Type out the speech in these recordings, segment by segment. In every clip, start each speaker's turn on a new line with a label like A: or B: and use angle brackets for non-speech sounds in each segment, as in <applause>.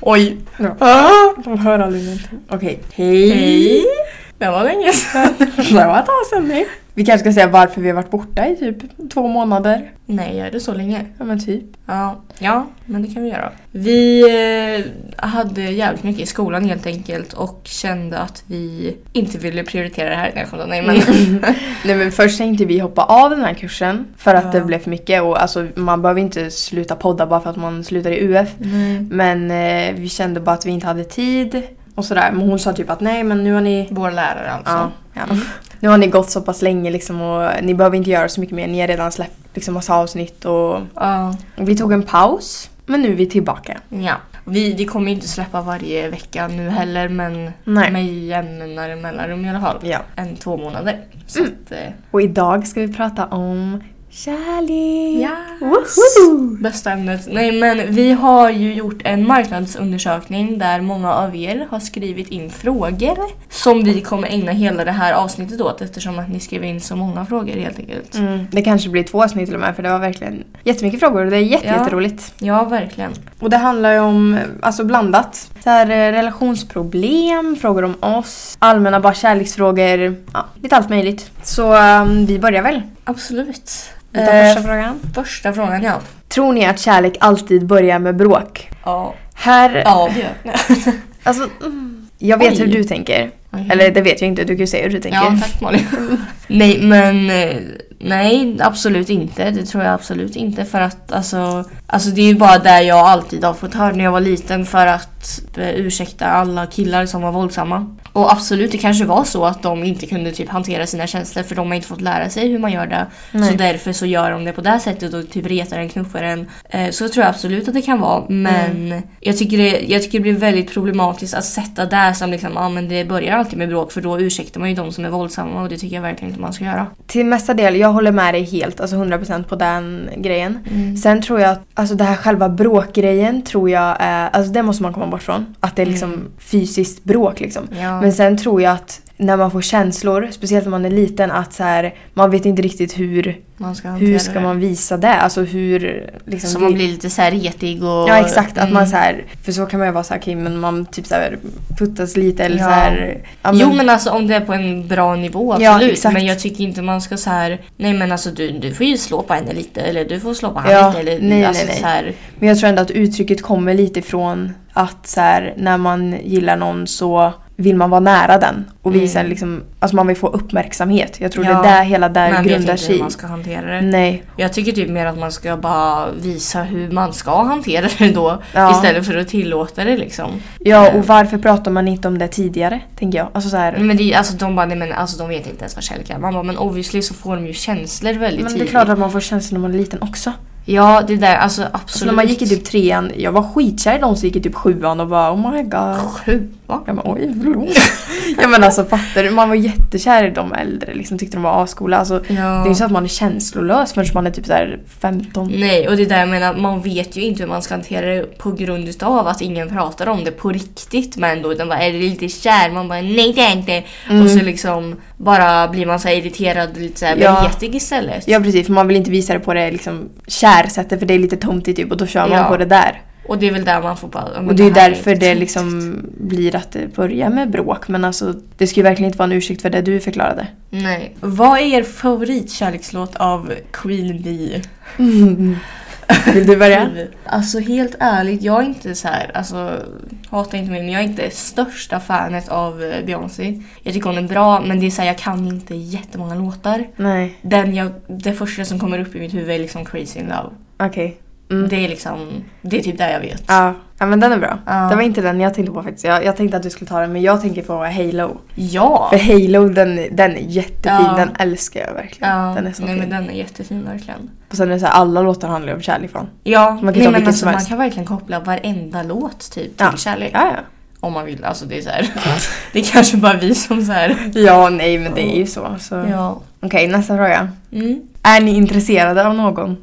A: Oj!
B: Ja.
A: Ah!
B: De hör aldrig någonting.
A: Okej, hej!
B: Hej.
A: Det var länge sedan. <laughs> det var ett tag sedan nu. Vi kanske ska säga varför vi har varit borta i typ två månader.
B: Nej, är det så länge?
A: Ja men typ.
B: Ja, ja, men det kan vi göra. Vi eh, hade jävligt mycket i skolan helt enkelt och kände att vi inte ville prioritera det här. Nej, jag skämtar. nej men
A: <laughs> Nej men först tänkte vi hoppa av den här kursen för att
B: Ja.
A: det blev för mycket och alltså man behöver inte sluta podda bara för att man slutar i UF.
B: <laughs>
A: Men eh, vi kände bara att vi inte hade tid och sådär. Men hon sa typ att nej men nu har ni
B: vår lärare alltså.
A: Ja, ja. Nu har ni gått så pass länge liksom och ni behöver inte göra så mycket mer. Ni har redan släppt liksom massa avsnitt och
B: Ja.
A: vi tog en paus. Men nu är vi tillbaka.
B: ja. Vi, vi kommer ju inte släppa varje vecka nu heller men
A: Nej.
B: med jämnare mellanrum i alla fall.
A: Ja. Mm.
B: Än två månader. Så att, eh,
A: Och idag ska vi prata om kärlek.
B: Woho! Bästa ämnet. Nej men vi har ju gjort en marknadsundersökning där många av er har skrivit in frågor som vi kommer ägna hela det här avsnittet åt eftersom att ni skrev in så många frågor helt enkelt.
A: Mm, det kanske blir två avsnitt till och med för det var verkligen jättemycket frågor och det är jätte,
B: Ja.
A: jätteroligt.
B: Ja, verkligen.
A: Och det handlar ju om alltså blandat. Så här, eh, relationsproblem, frågor om oss, allmänna bara kärleksfrågor, ja, lite allt möjligt. Så eh, vi börjar väl.
B: Absolut.
A: Vi tar
B: Eh,
A: första frågan.
B: första frågan ja.
A: Tror ni att kärlek alltid börjar med bråk?
B: Ja,
A: Här...
B: ja det gör <laughs> jag.
A: Alltså, mm, jag vet
B: Oj.
A: hur du tänker.
B: Okej.
A: Eller det vet jag inte, du kan ju säga hur du tänker.
B: Ja, tack Malin. <laughs> nej, men eh, nej, absolut inte. Det tror jag absolut inte. För att alltså, alltså det är ju bara där jag alltid har fått höra när jag var liten för att eh, ursäkta alla killar som var våldsamma. Och absolut, det kanske var så att de inte kunde typ hantera sina känslor för de har inte fått lära sig hur man gör det.
A: Nej.
B: Så därför så gör de det på det här sättet och typ retar en, knuffar en. Eh, Så tror jag absolut att det kan vara. Men
A: Mm.
B: jag, tycker det, jag tycker det blir väldigt problematiskt att sätta där som liksom, ja men det börjar alltid med bråk för då ursäktar man ju de som är våldsamma och det tycker jag verkligen inte man ska göra.
A: Till mesta del, jag håller med dig helt, alltså 100% på den grejen. Sen tror jag att alltså det här själva bråkgrejen tror jag är, alltså det måste man komma bort från. Att det är liksom fysiskt bråk liksom.
B: Mm. Ja.
A: Men sen tror jag att när man får känslor, speciellt när man är liten, att så här, man vet inte riktigt hur,
B: Man ska
A: hur
B: hantera
A: ska
B: det.
A: man visa det? Alltså hur... Liksom,
B: Så
A: vi-
B: man blir Mm. lite så här retig och...
A: Ja exakt, att man så här, för så kan man ju vara så här, okej men man typ så här puttas lite eller
B: Ja.
A: så här, ja,
B: Jo men alltså om det är på en bra nivå
A: Ja,
B: absolut.
A: exakt.
B: men jag tycker inte man ska så här. nej men alltså du, du får ju slå på henne lite eller du får slå på
A: Ja,
B: henne lite eller
A: nej,
B: alltså,
A: nej, nej.
B: så här.
A: men jag tror ändå att uttrycket kommer lite ifrån att så här, när man gillar någon så vill man vara nära den och visa liksom, alltså man vill få uppmärksamhet. Jag tror
B: Ja,
A: det är där hela där
B: Man vet
A: grundar
B: inte
A: sig
B: hur
A: i.
B: man ska hantera det.
A: Nej.
B: Jag tycker typ mer att man ska bara visa hur man ska hantera det då
A: Ja.
B: istället för att tillåta det liksom.
A: Ja och varför pratar man inte om det tidigare? Tänker jag. Alltså så här,
B: Men det, är- alltså de bara, nej men alltså de vet inte ens vad kärlek är. Man bara, men obviously så får de ju känslor väldigt
A: men det är
B: tidigt.
A: klart att man får känslor när man är liten också.
B: Ja det där, alltså absolut.
A: Så när man gick i typ trean, jag var skitkär i någon som gick i typ sjuan och bara oh my god.
B: Sju, va?
A: Jag bara oj, <laughs> förlåt. ja men alltså fattar du? Man var jättekär i de äldre liksom, tyckte de var ascoola. Alltså,
B: Ja.
A: Det är ju inte så att man är känslolös förrän man är typ så här 15.
B: Nej, och det där jag menar, man vet ju inte hur man ska hantera det på grund utav att ingen pratar om det på riktigt. Men då utan bara, är det lite kär? Man bara, nej det är inte. Och så liksom bara blir man så här irriterad och lite så här
A: Mm. Ja.
B: beretig istället.
A: Ja precis, för man vill inte visa det på det liksom kärsättet för det är lite tomtigt typ och då kör man
B: Ja.
A: på det där.
B: Och det är väl där man får bara... ja, men
A: Och det är ju
B: här
A: därför
B: inte
A: det
B: trevligt.
A: liksom blir att det börjar med bråk men alltså det ska ju verkligen inte vara en ursäkt för det du förklarade.
B: <laughs> Nej. Vad är er favoritkärlekslåt av Queen Bee?
A: Vill du börja?
B: Alltså helt ärligt, jag är inte så här, alltså hatar inte mig men jag är inte största fanet av eh, Beyoncé. Jag tycker hon är bra men det är så här, jag kan inte jättemånga låtar.
A: Nej,
B: Den jag, det första som kommer upp i mitt huvud är liksom Crazy in Love.
A: okej. Mm.
B: Det är liksom, det är typ där jag vet.
A: Ja. ja men den är bra.
B: Ja.
A: Det var inte den jag tänkte på faktiskt. Jag, jag tänkte att du skulle ta den men jag tänker på Halo.
B: Ja!
A: För <laughs> Halo den, den är jättefin,
B: Ja.
A: den älskar jag verkligen.
B: ja.
A: Den är så
B: Nej
A: fin.
B: men den är jättefin verkligen.
A: Och sen är det så här, alla låtar handlar ju om kärlek från.
B: Ja,
A: kan
B: nej,
A: ta
B: men
A: vilken
B: alltså,
A: som
B: man
A: helst.
B: kan verkligen koppla varenda låt typ till
A: Ja.
B: kärlek.
A: Ja, ja.
B: Om man vill, alltså det är så här. <laughs> Det är kanske bara vi som så här.
A: ja nej men det är ju så. så.
B: Ja.
A: Okej, nästa fråga.
B: Mm.
A: Är ni intresserade
B: <laughs>
A: av någon?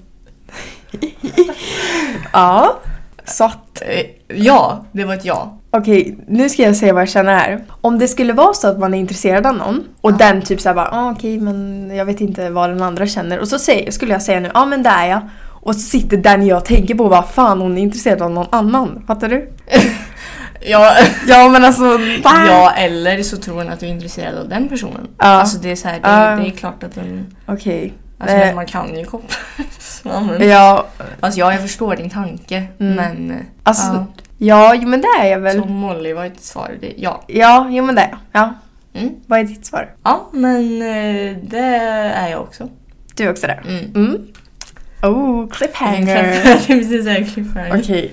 A: ja. Satt.
B: Eh, Ja, det var ett ja.
A: Okej, nu ska jag säga vad jag känner här. Om det skulle vara så att man är intresserad av någon och
B: Ja.
A: den typ såhär bara ah, okej men jag vet inte vad den andra känner och så säger, skulle jag säga nu ja ah, men det är jag och så sitter den jag tänker på och bara fan hon är intresserad av någon annan. Fattar du?
B: Ja, <laughs>
A: Ja men alltså...
B: ja, eller så tror hon att du är intresserad av den personen.
A: Ja.
B: Alltså det är så här, det,
A: Ja. Eh.
B: det är klart att den,
A: Okej.
B: alltså,
A: Nej.
B: men man kan ju koppla. <laughs> ja, men.
A: Ja,
B: Alltså ja, jag förstår din tanke
A: Mm.
B: men
A: alltså...
B: ja.
A: Ja. ja, jo men det är jag väl.
B: så Molly var ett svar. Det, ja.
A: Ja, jo men det är jag. Ja.
B: Mm.
A: Vad är ditt svar?
B: ja, men eh, det är jag också.
A: Du är också där.
B: Mm.
A: Mm. Oh,
B: Cliffhanger. <laughs>
A: cliffhanger.
B: det är precis såhär cliffhanger.
A: Okej.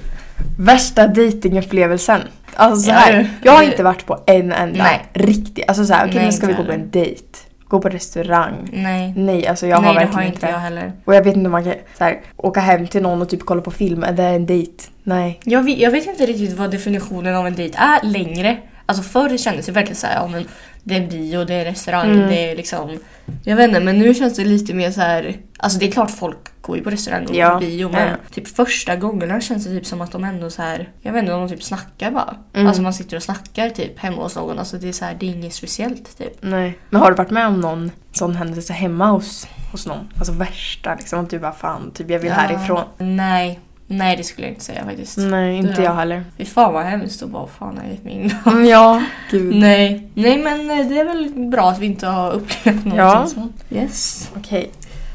A: Värsta datingupplevelsen. Alltså så
B: Ja,
A: här,
B: du.
A: jag har
B: Du-
A: inte varit på en enda
B: Nej.
A: riktig. Alltså så här, okej
B: Nej,
A: nu ska vi
B: inte
A: gå på
B: heller.
A: en dejt. Gå på restaurang.
B: Nej.
A: Nej, alltså jag har
B: Nej, det
A: verkligen
B: har
A: inte
B: inte
A: det.
B: jag heller.
A: Och jag vet inte om man kan så här, åka hem till någon och typ kolla på film. Är det en dejt? Nej.
B: Jag vet, jag vet inte riktigt vad definitionen av en dejt är längre. Alltså förr kändes det verkligen såhär, ja men det är bio, det är restaurang,
A: Mm.
B: det är liksom... Jag vet inte men nu känns det lite mer så här. Alltså det är klart folk går ju på restaurang och
A: Ja.
B: på bio men
A: Ja.
B: typ första gångerna känns det typ som att de ändå så här. Jag vet inte, de typ snackar bara.
A: Mm.
B: Alltså man sitter och snackar typ hemma hos någon. Alltså det är så här, det är inget speciellt typ.
A: Nej. Men har du varit med om någon sån händelse hemma hos, hos någon? Alltså värsta liksom. Att du bara fan, typ jag vill
B: Ja.
A: härifrån.
B: Nej, nej det skulle jag inte säga faktiskt.
A: Nej, inte
B: Ja.
A: jag heller.
B: Fy fan vad hemskt och bara fan har jag gett mig in <laughs>
A: Mm, <laughs> ja, gud.
B: Nej. Nej men eh, det är väl bra att vi inte har upplevt någonting
A: Ja.
B: sånt. Yes.
A: Okej.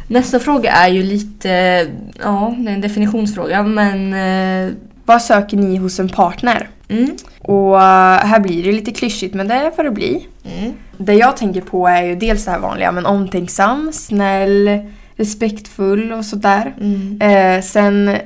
B: Nästa fråga är ju lite, ja det är en definitionsfråga men... eh,
A: Vad söker ni hos en partner?
B: Mm.
A: Och eh, här blir det lite klyschigt men det får det bli.
B: Mm.
A: Det jag tänker på är ju dels det här vanliga men omtänksam, snäll, respektfull och sådär.
B: Mm.
A: Eh, sen eh,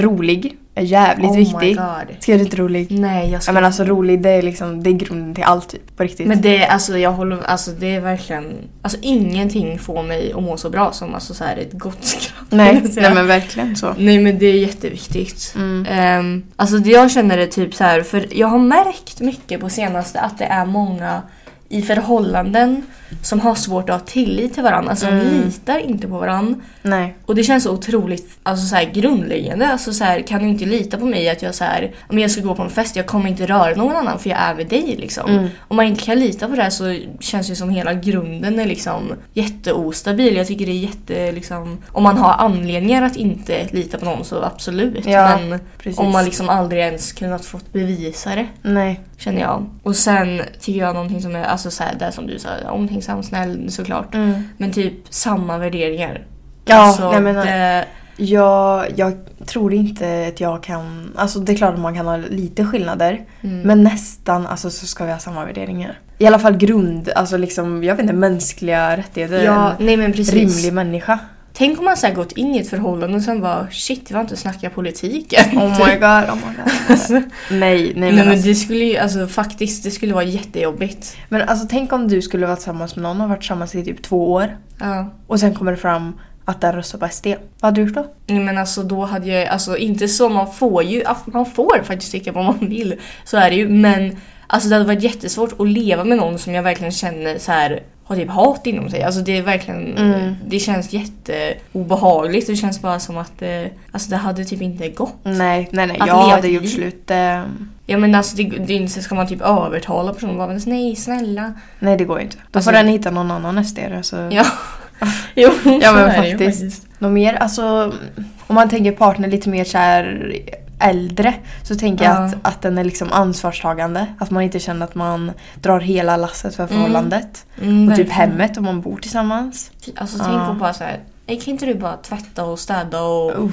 A: rolig, är jävligt
B: oh my
A: viktig.
B: god.
A: Ska du inte rolig?
B: Nej jag
A: Ja
B: ska...
A: men alltså rolig det är liksom, det är grunden till allt typ på riktigt.
B: Men det, alltså jag håller, alltså det är verkligen, alltså ingenting får mig att må så bra som alltså så här ett gott skratt. <laughs>
A: nej,
B: Så jag-
A: nej men verkligen så.
B: Nej men det är jätteviktigt.
A: Mm.
B: Ehm, alltså det jag känner är typ så här, för jag har märkt mycket på senaste att det är många i förhållanden som har svårt att ha tillit till varandra, alltså de
A: Mm.
B: litar inte på varandra.
A: Nej.
B: Och det känns så otroligt alltså så här, grundläggande. Alltså så här, kan du inte lita på mig att jag så här, om jag ska gå på en fest, jag kommer inte röra någon annan för jag är med dig liksom.
A: Mm.
B: Om man inte kan lita på det här så känns det som hela grunden är liksom jätteostabil. Jag tycker det är jätte liksom, om man har anledningar att inte lita på någon så absolut.
A: Ja,
B: Men
A: Precis.
B: om man liksom aldrig ens kunnat fått bevisa det
A: Nej.
B: känner jag. Och sen tycker jag någonting som är, alltså så här, det som du sa, omtänksam, snäll såklart.
A: Mm.
B: Men typ samma värderingar.
A: Ja,
B: alltså,
A: nej men eh,
B: det,
A: Jag, jag tror inte att jag kan... Alltså det är klart att man kan ha lite skillnader.
B: Mm.
A: Men nästan alltså, så ska vi ha samma värderingar. I alla fall grund, alltså liksom, jag vet inte, mänskliga rättigheter.
B: ja,
A: en
B: nej men precis.
A: rimlig människa.
B: Tänk om man så här gått in i ett förhållande och sen bara shit, vi har inte snackat politiken.
A: <laughs>
B: <laughs>
A: Oh my god, oh my god. nej, nej men,
B: Nej men
A: alltså,
B: det skulle ju, alltså faktiskt, det skulle vara jättejobbigt.
A: men alltså tänk om du skulle vara tillsammans med någon och varit tillsammans i typ två år.
B: Ja.
A: Och sen kommer det fram att den röstar på SD. Vad hade du gjort då?
B: Nej men alltså då hade jag, alltså inte så, man får ju, alltså, man får faktiskt tycka vad man vill. Så är det ju, men alltså det hade varit jättesvårt att leva med någon som jag verkligen känner så här har typ hat inom sig. Alltså det är verkligen,
A: Mm.
B: det känns jätteobehagligt. Det känns bara som att, eh, alltså det hade typ inte gått.
A: Nej, nej, nej.
B: Att
A: jag
B: leva
A: hade
B: ett
A: gjort
B: liv.
A: slut. eh,
B: Ja men alltså det, det är inte så ska man typ övertala personen bara men nej snälla.
A: nej, det går ju inte. Då
B: Alltså-
A: får den hitta någon annan SD. Alltså.
B: Ja. jo,
A: Ja
B: <laughs> så
A: men
B: är det ju
A: faktiskt. Något mer, alltså om man tänker partner lite mer så här äldre så tänker jag
B: Ja.
A: att, att den är liksom ansvarstagande. Att man inte känner att man drar hela lasset för förhållandet.
B: Mm,
A: Och typ
B: verkligen.
A: hemmet om man bor tillsammans.
B: Alltså
A: Ja.
B: tänk på bara så här. "Ey, Kan inte du bara tvätta och städa och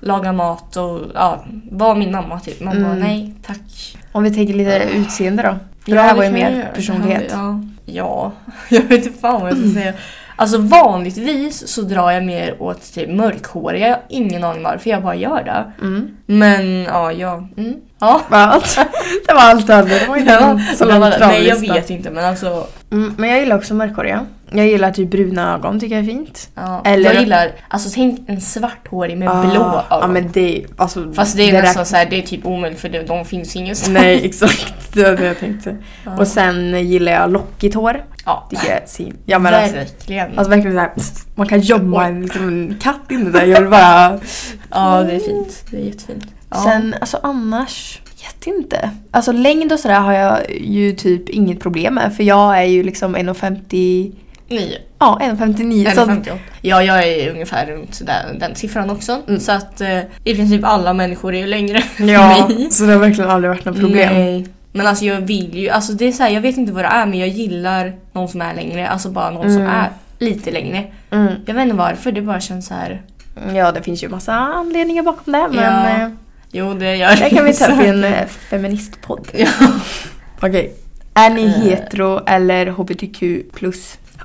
B: laga mat och ja, var min mamma typ. Man bara
A: Mm.
B: nej tack.
A: Om vi tänker lite utseende då. För
B: Ah. Ja,
A: det här var ju
B: kan jag
A: mer
B: göra.
A: personlighet.
B: Det här var- Ja. <laughs> ja, jag vet inte fan vad jag
A: Mm.
B: ska säga. Alltså vanligtvis så drar jag mer åt typ mörkhåriga. Jag har ingen aning varför jag bara gör det.
A: Mm.
B: Men ja, jag... Mm. Ja. <laughs>
A: Va? Allt. <laughs> det var allt du hade. Det var inte
B: Ja,
A: en Mm. så
B: det
A: lång
B: var- nej jag
A: kravlista.
B: vet inte men alltså.
A: Mm, men jag gillar också mörkhåriga. Jag gillar typ bruna ögon, tycker jag är fint.
B: Ja.
A: Eller-
B: Jag gillar, alltså tänk en svarthårig med
A: Ah,
B: blå ögon.
A: Ja men det är alltså...
B: Fast det är
A: räknas
B: nästan såhär, det är typ omöjligt för det, de finns ingenstans.
A: <laughs> Nej, exakt. Det var det jag tänkte.
B: Ja.
A: Och sen gillar jag lockigt hår.
B: <laughs> Ja, <laughs>
A: Tycker jag är sin. Ja men alltså,
B: verkligen.
A: alltså verkligen såhär, man kan gömma en, liksom, en katt inne där. Jag vill bara...
B: ja, det är fint. Det är jättefint. Ja.
A: Sen, alltså annars, vet inte. Alltså längd och sådär har jag ju typ inget problem med för jag är ju liksom 1,50
B: Nio.
A: Ja, 1,59. Så
B: Eller
A: att,
B: 58. Ja, jag är ungefär runt där, den siffran också. Så att eh, i princip alla människor är ju längre än <laughs>
A: Mm. ja,
B: mig.
A: så det har verkligen aldrig varit något problem.
B: Nej. Men alltså jag vill ju, alltså det är så här, jag vet inte vad det är men jag gillar någon som är längre, alltså bara någon som är lite längre.
A: Mm.
B: Jag vet inte varför, det bara känns så här.
A: Ja, det finns ju massa anledningar bakom det, men
B: Ja.
A: eh,
B: Jo det gör
A: det kan vi ta upp i
B: säkert.
A: en eh, feministpodd.
B: <laughs> Ja.
A: Okej. Är ni
B: Eh.
A: hetero eller hbtq+.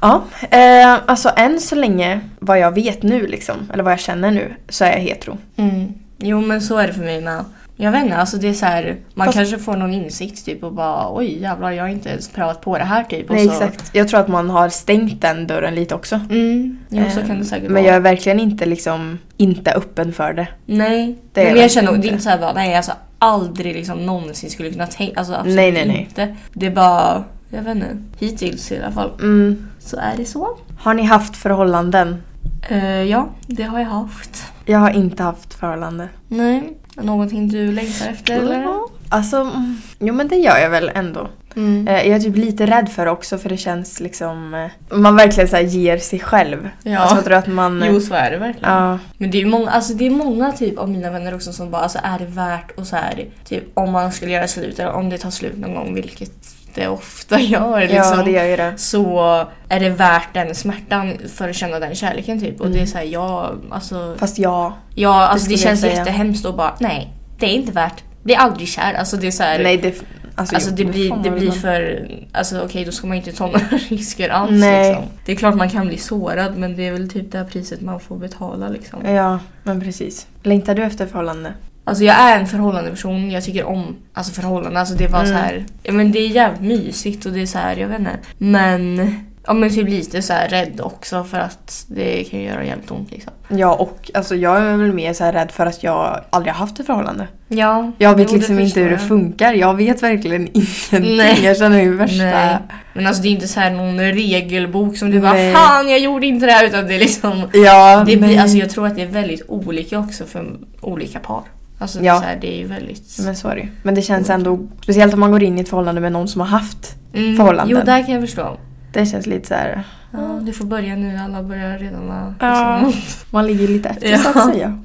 A: Ja, eh, alltså än så länge, vad jag vet nu liksom, eller vad jag känner nu, så är jag hetero.
B: Mm. Jo men så är det för mig med. Jag vet inte, alltså det är så här, man
A: Fast-
B: kanske får någon insikt typ och bara oj jävlar jag har inte ens prövat på det här typ.
A: Nej,
B: och så,
A: exakt. Jag tror att man har stängt den dörren lite också.
B: Mm, jo så
A: Eh,
B: kan det säkert
A: Men
B: vara.
A: jag är verkligen inte liksom, inte öppen för det.
B: Nej,
A: Det är
B: men
A: jag
B: jag känner
A: inte.
B: det är inte såhär bara nej alltså aldrig liksom någonsin skulle kunna tänka, alltså absolut
A: Nej, nej, nej.
B: inte. Det är bara, jag vet inte, hittills i alla fall
A: Mm.
B: så är det så.
A: Har ni haft förhållanden?
B: Eh, ja, det har jag haft.
A: Jag har inte haft förhållande.
B: Nej, någonting du längtar efter eller?
A: Alltså, mm, jo men det gör jag väl ändå.
B: Mm.
A: Eh, Jag är typ lite rädd för det också för det känns liksom... eh, Man verkligen så här ger sig själv.
B: Ja.
A: Alltså jag tror att man...
B: Jo så är det verkligen.
A: Ja.
B: Men det är ju många, alltså det är många typ av mina vänner också som bara alltså är det värt och så här typ om man skulle göra slut eller om det tar slut någon gång vilket det ofta <laughs> gör liksom.
A: Ja, det gör ju det.
B: så är det värt den smärtan för att känna den kärleken typ. Och det är såhär, jag, alltså,
A: Fast ja.
B: ja, alltså det,
A: Mm. skulle jag
B: känns
A: säga.
B: jättehemskt att bara, nej, det är inte värt. Bli aldrig kär. Alltså det är såhär,
A: Nej, det... Alltså,
B: alltså
A: jo,
B: det blir,
A: fan
B: det
A: vad
B: blir
A: man-
B: för, alltså okej då ska man ju inte ta <laughs> några risker alls
A: Nej.
B: liksom. Det är klart man kan bli sårad men det är väl typ det här priset man får betala liksom.
A: Ja, men precis. Längtar du efter förhållande?
B: Alltså jag är en förhållandeperson, jag tycker om alltså förhållanden. Alltså det var
A: Mm.
B: så här, ja men det är jävligt mysigt och det är så här, jag vet inte. Men, ja men typ lite så här rädd också för att det kan ju göra jävligt ont liksom.
A: Ja, och alltså jag är väl mer så här rädd för att jag aldrig har haft ett förhållande.
B: Ja,
A: Jag vet
B: jo, det
A: liksom inte hur det
B: förstår
A: funkar. Jag vet verkligen <laughs> ingenting.
B: Nej.
A: Jag känner mig
B: jag.
A: värsta...
B: Nej. Men alltså det är inte så här någon regelbok som du bara
A: Nej.
B: Fan jag gjorde inte det här utan det är liksom
A: Ja,
B: det
A: men...
B: blir, alltså, Jag tror att det är väldigt olika också för olika par. Alltså det, är
A: Ja.
B: så här, det är ju väldigt...
A: Men sorry. Men det känns ändå... Speciellt om man går in i ett förhållande med någon som har haft
B: Mm,
A: förhållanden.
B: Jo där kan jag förstå.
A: Det känns lite så här...
B: Ja, du får börja nu, alla börjar redan ha
A: Ja.
B: liksom.
A: Man ligger lite efter
B: Ja.
A: så att säga.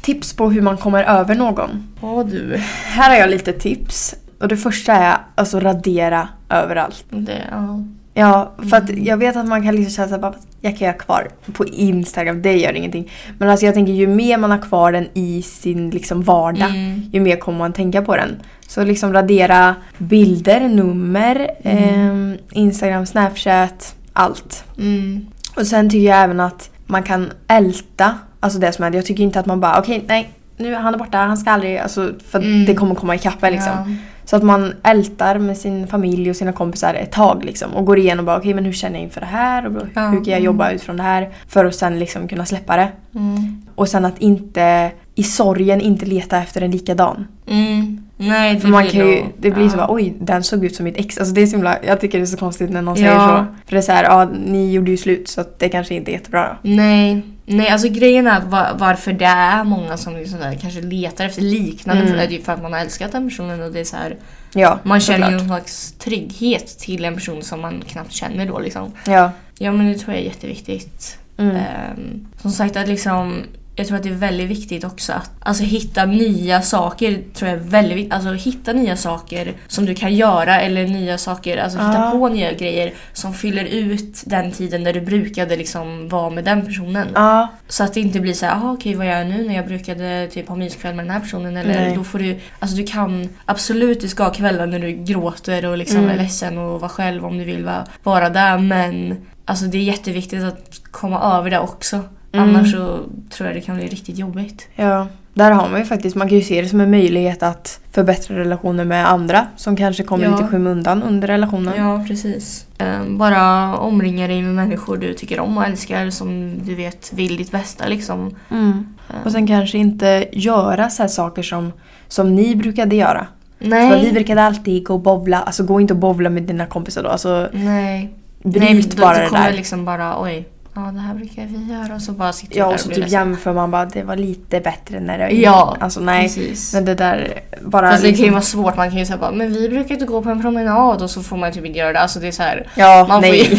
A: Tips på hur man kommer över någon.
B: Ja du.
A: Här har jag lite tips. Och det första är alltså radera överallt.
B: Det, ja.
A: Ja, för att jag vet att man kan liksom känna såhär, jag kan ju ha kvar på Instagram, det gör ingenting. Men alltså jag tänker ju mer man har kvar den i sin liksom vardag,
B: Mm.
A: ju mer kommer man tänka på den. Så liksom radera bilder, nummer, ehm, Instagram, Snapchat, allt.
B: Mm.
A: Och sen tycker jag även att man kan älta alltså det som händer. Jag tycker inte att man bara okej, nej, nu är han är borta, han ska aldrig, alltså för att
B: Mm.
A: det kommer komma ikapp en liksom.
B: Ja.
A: Så att man ältar med sin familj och sina kompisar ett tag liksom och går igenom bara okej men hur känner jag inför det här och hur
B: Ja.
A: kan jag jobba utifrån det här för att sen liksom kunna släppa det.
B: Mm.
A: Och sen att inte i sorgen inte leta efter en likadan.
B: Mm. Nej, det
A: För man
B: blir
A: kan ju,
B: då-
A: det blir
B: ja.
A: så bara oj den såg ut som mitt ex. Alltså det är så himla, jag tycker det är så konstigt när någon
B: Ja.
A: säger så. För det är så här, ja ni gjorde ju slut så att det kanske inte är jättebra.
B: Nej. Nej, alltså grejen är att va- varför det är många som liksom där, kanske letar efter liknande
A: Mm.
B: för det är ju för att man har älskat den personen och det är så här,
A: Ja,
B: man känner ju
A: såklart.
B: någon slags trygghet till en person som man knappt känner då liksom.
A: Ja.
B: Ja men det tror jag är jätteviktigt.
A: Mm.
B: Ehm, som sagt att liksom jag tror att det är väldigt viktigt också att alltså, hitta nya saker. tror jag är väldigt viktigt. Alltså hitta nya saker som du kan göra eller nya saker, alltså hitta
A: Ja.
B: på nya grejer som fyller ut den tiden där du brukade liksom vara med den personen.
A: Ja,
B: Så att det inte blir så här, "Aha, okej vad gör jag nu när jag brukade typ ha myskväll med den här personen eller
A: Nej.
B: då får du, alltså du kan absolut du ska ha kvällar när du gråter och liksom
A: Mm.
B: är ledsen och vara själv om du vill va, vara där men alltså det är jätteviktigt att komma över det också.
A: Mm.
B: Annars så tror jag det kan bli riktigt jobbigt.
A: Ja, där har man ju faktiskt, man kan ju se det som en möjlighet att förbättra relationen med andra som kanske kommer
B: Ja.
A: lite i skymundan under relationen.
B: Ja precis. Ehm, Bara omringa dig med människor du tycker om och älskar som du vet vill ditt bästa liksom.
A: Mm.
B: Eh,
A: Och sen kanske inte göra så här saker som, som ni brukade göra. Så
B: Nej.
A: vi brukade alltid gå och bowla, alltså gå inte och bowla med dina kompisar då. Alltså
B: Nej.
A: bryt
B: Nej, då,
A: bara
B: då
A: det
B: kommer
A: där.
B: liksom bara oj. ja det här brukar vi göra och så bara sitter
A: Ja,
B: jag där
A: och
B: och
A: så
B: blir
A: typ
B: ledsen.
A: jämför man bara, det var lite bättre när det
B: Ja,
A: Alltså nej.
B: precis.
A: Men det där bara...
B: Fast det kan ju
A: liksom-
B: vara svårt, man kan ju säga bara men vi brukar inte gå på en promenad och så får man typ inte göra det. Alltså det är så här,
A: Ja,
B: man
A: nej. <laughs>
B: får ju...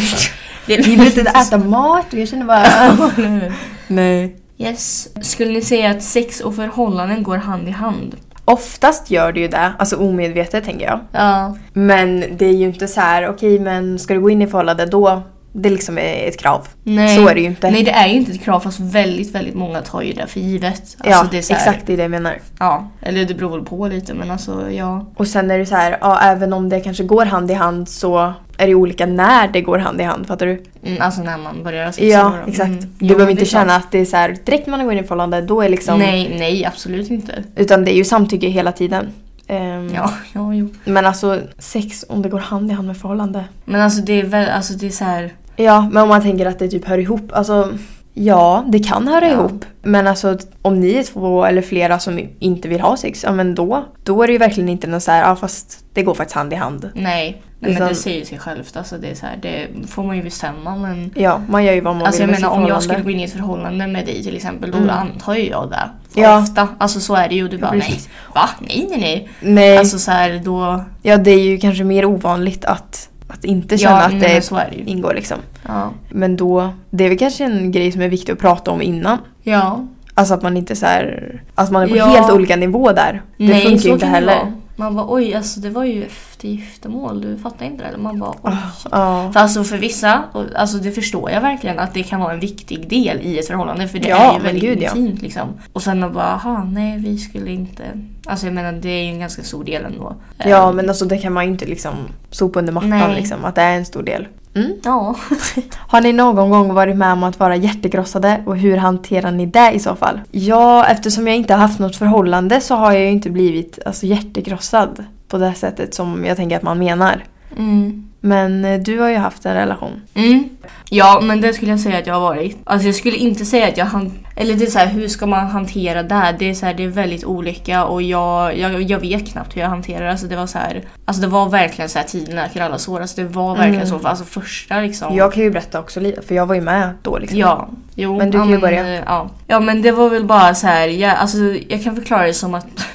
B: det
A: Vi vill
B: <laughs>
A: inte äta mat och jag känner bara... <laughs> nej.
B: Yes. Skulle ni säga att sex och förhållanden går hand i hand?
A: Oftast gör det ju det, alltså omedvetet tänker jag.
B: Ja.
A: Men det är ju inte så här, okej men ska du gå in i förhållande då, det liksom är ett krav.
B: Nej.
A: Så är det ju inte.
B: Nej det är ju inte ett krav fast väldigt, väldigt många tar ju det för givet. Alltså,
A: ja,
B: det är så här,
A: exakt det är det jag menar.
B: Ja, eller det beror väl på lite men alltså ja.
A: Och sen är det så här, ja även om det kanske går hand i hand så är det olika när det går hand i hand, fattar du?
B: Mm, alltså när man börjar ha sex.
A: Ja,
B: då.
A: exakt.
B: Mm.
A: Du
B: Jo,
A: behöver
B: men
A: inte
B: det är sant.
A: känna att det är så här, direkt man går in i förhållande då är liksom...
B: Nej, nej absolut inte.
A: Utan det är ju samtycke hela tiden. Ehm,
B: Ja, <laughs> ja jo.
A: Men alltså sex, om det går hand i hand med förhållande.
B: Men alltså det är väl, alltså det är så här.
A: Ja, men om man tänker att det typ hör ihop. Alltså, ja, det kan höra
B: Ja.
A: ihop. Men alltså om ni är två eller flera som inte vill ha sex, ja men då. Då är det ju verkligen inte något så här, ja fast det går faktiskt hand i hand.
B: Nej,
A: Det
B: nej
A: är
B: men det
A: sant.
B: säger sig självt. Alltså det är så här, det får man ju bestämma men...
A: Ja, Liksom- man gör ju vad man
B: Alltså
A: vill
B: jag
A: med
B: menar
A: sitt
B: om jag
A: förhållande.
B: skulle gå in i ett förhållande med dig till exempel då
A: Mm.
B: antar ju jag det. För
A: Ja.
B: Ofta. Alltså så är det ju. Du bara nej.
A: precis.
B: Va? Nej nej nej.
A: Nej,
B: Alltså så här då...
A: ja det är ju kanske mer ovanligt att, att inte känna
B: ja,
A: att
B: nej, men alltså-
A: det
B: så är det ju.
A: ingår liksom.
B: Ja.
A: Men då, det är väl kanske en grej som är viktig att prata om innan.
B: ja.
A: Alltså att man inte så här, att man är på
B: Ja.
A: helt olika nivå där. Det
B: nej,
A: funkar
B: så
A: ju inte
B: kan det
A: heller.
B: vara. Man bara oj alltså det var ju efter giftermål. Du fattar inte det eller? Man bara oj. shit.
A: Ja.
B: För alltså för vissa, och alltså det förstår jag verkligen att det kan vara en viktig del i ett förhållande för det
A: Ja,
B: är ju
A: men
B: väldigt
A: gud, ja.
B: intimt liksom. Och sen att bara, aha, nej vi skulle inte... Alltså jag menar det är ju en ganska stor del ändå.
A: ja
B: Eh,
A: men alltså det kan man ju inte liksom sopa under mattan
B: Nej.
A: liksom, att det är en stor del. Mm.
B: Ja. <laughs>
A: Har ni någon gång varit med om att vara hjärtekrossade och hur hanterar ni det i så fall? Ja, eftersom jag inte har haft något förhållande så har jag ju inte blivit alltså, hjärtekrossad på det sättet som jag tänker att man menar.
B: Mm.
A: Men eh, du har ju haft en relation.
B: Mm. Ja, men det skulle jag säga att jag har varit. Alltså jag skulle inte säga att jag han Eller det är så här, hur ska man hantera det? här? Det är, så här, det är väldigt olika och jag, jag, jag vet knappt hur jag hanterar det. Alltså det var så här, alltså det var verkligen så här tiden läker alla sår. Alltså det var verkligen
A: Mm.
B: så. För alltså första liksom.
A: Jag kan ju berätta också lite, för jag var ju med då liksom.
B: Ja, jo.
A: Men du
B: ja,
A: kan ju börja.
B: eh, Ja. ja, men det var väl bara så här. Jag, alltså, jag kan förklara det som att... <laughs>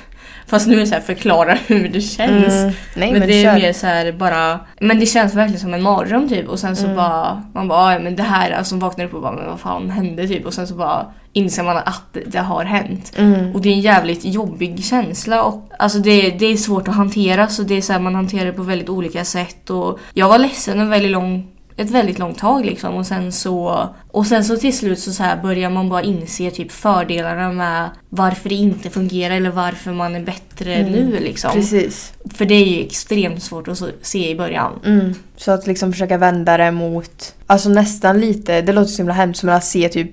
B: Fast nu är det så här, förklara <laughs> hur det känns.
A: Mm. Nej
B: Eh, men,
A: men,
B: det är
A: kör.
B: mer så här bara... Men det känns verkligen som en mardröm typ. Och sen så
A: Mm.
B: bara... Man bara, ja men det här... Alltså vaknar upp och bara, men vad fan hände typ? Och sen så bara inser man att det- det har hänt.
A: Mm.
B: Och det är en jävligt jobbig känsla och alltså det, det är svårt att hantera så det är så här, man hanterar det på väldigt olika sätt och jag var ledsen en väldigt lång ett väldigt långt tag liksom och sen så och sen så till slut så, så här börjar man bara inse typ fördelarna med varför det inte fungerar eller varför man är bättre nu liksom.
A: Mm. Precis.
B: För det är ju extremt svårt att så- se i början.
A: Mm. Så att liksom försöka vända det mot, alltså nästan lite, det låter så himla hemskt men att se typ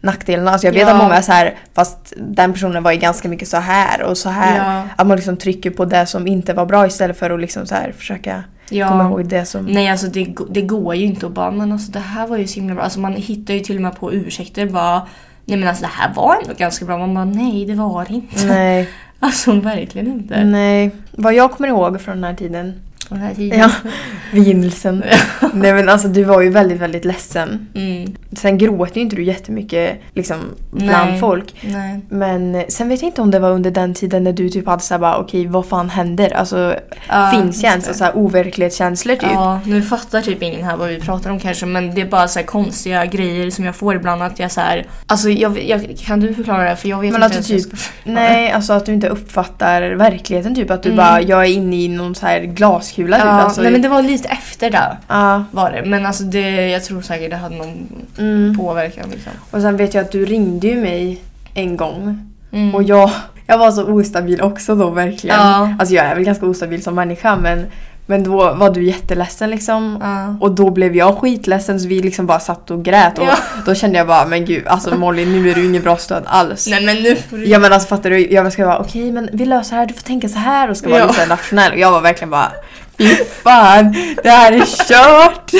A: nackdelarna. Alltså jag vet
B: Ja.
A: att många är så här, fast den personen var ju ganska mycket så här och så här.
B: Ja.
A: Att man liksom trycker på det som inte var bra istället för att liksom så här försöka
B: Ja.
A: komma ihåg det som...
B: Nej alltså det, g- det går ju inte att bara men alltså det här var ju så himla bra. Alltså man hittar ju till och med på ursäkter bara nej men alltså det här var ändå ganska bra. Man bara nej det var det inte.
A: Nej.
B: <laughs> Alltså verkligen inte.
A: Nej. Vad jag kommer ihåg från den här tiden,
B: Den här tiden.
A: ja,
B: <laughs>
A: begynnelsen. Nej men alltså du var ju väldigt, väldigt ledsen.
B: Mm.
A: Sen gråter ju inte du jättemycket liksom bland
B: Nej.
A: folk.
B: Nej.
A: Men eh, sen vet jag inte om det var under den tiden när du typ hade såhär bara okej vad fan händer? Alltså
B: Ja,
A: finns
B: just
A: känslor,
B: det.
A: såhär overklighetskänslor typ.
B: Ja, nu fattar typ ingen här vad vi pratar om kanske men det är bara så här konstiga grejer som jag får ibland att jag så här, Alltså jag, jag, kan du förklara det här? för jag vet
A: Men
B: inte
A: att
B: ens
A: du
B: hur jag
A: typ-
B: ska förklara.
A: Nej, alltså att du inte uppfattar verkligheten typ. Att du
B: Mm.
A: bara, jag är inne i någon så här glaskula
B: Ja,
A: typ. Alltså,
B: nej men det var lite efter det
A: ja,
B: var det men alltså det, jag tror säkert det hade någon
A: mm.
B: påverkan liksom.
A: Och sen vet jag att du ringde ju mig en gång.
B: Mm.
A: Och jag, jag var så ostabil också då verkligen.
B: Ja.
A: Alltså jag är väl ganska ostabil som människa men, men då var du jätteledsen liksom.
B: Ja.
A: Och då blev jag skitledsen så vi liksom bara satt och grät och
B: Ja.
A: då kände jag bara men gud alltså Molly nu är du ingen bra stöd alls.
B: Nej men nu får du...
A: Ja men alltså fattar du, jag ska vara okej men vi löser det här, du får tänka så här och ska vara
B: Ja.
A: lite så här nationell och jag var verkligen bara fy fan det här är kört,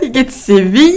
A: vilket svin.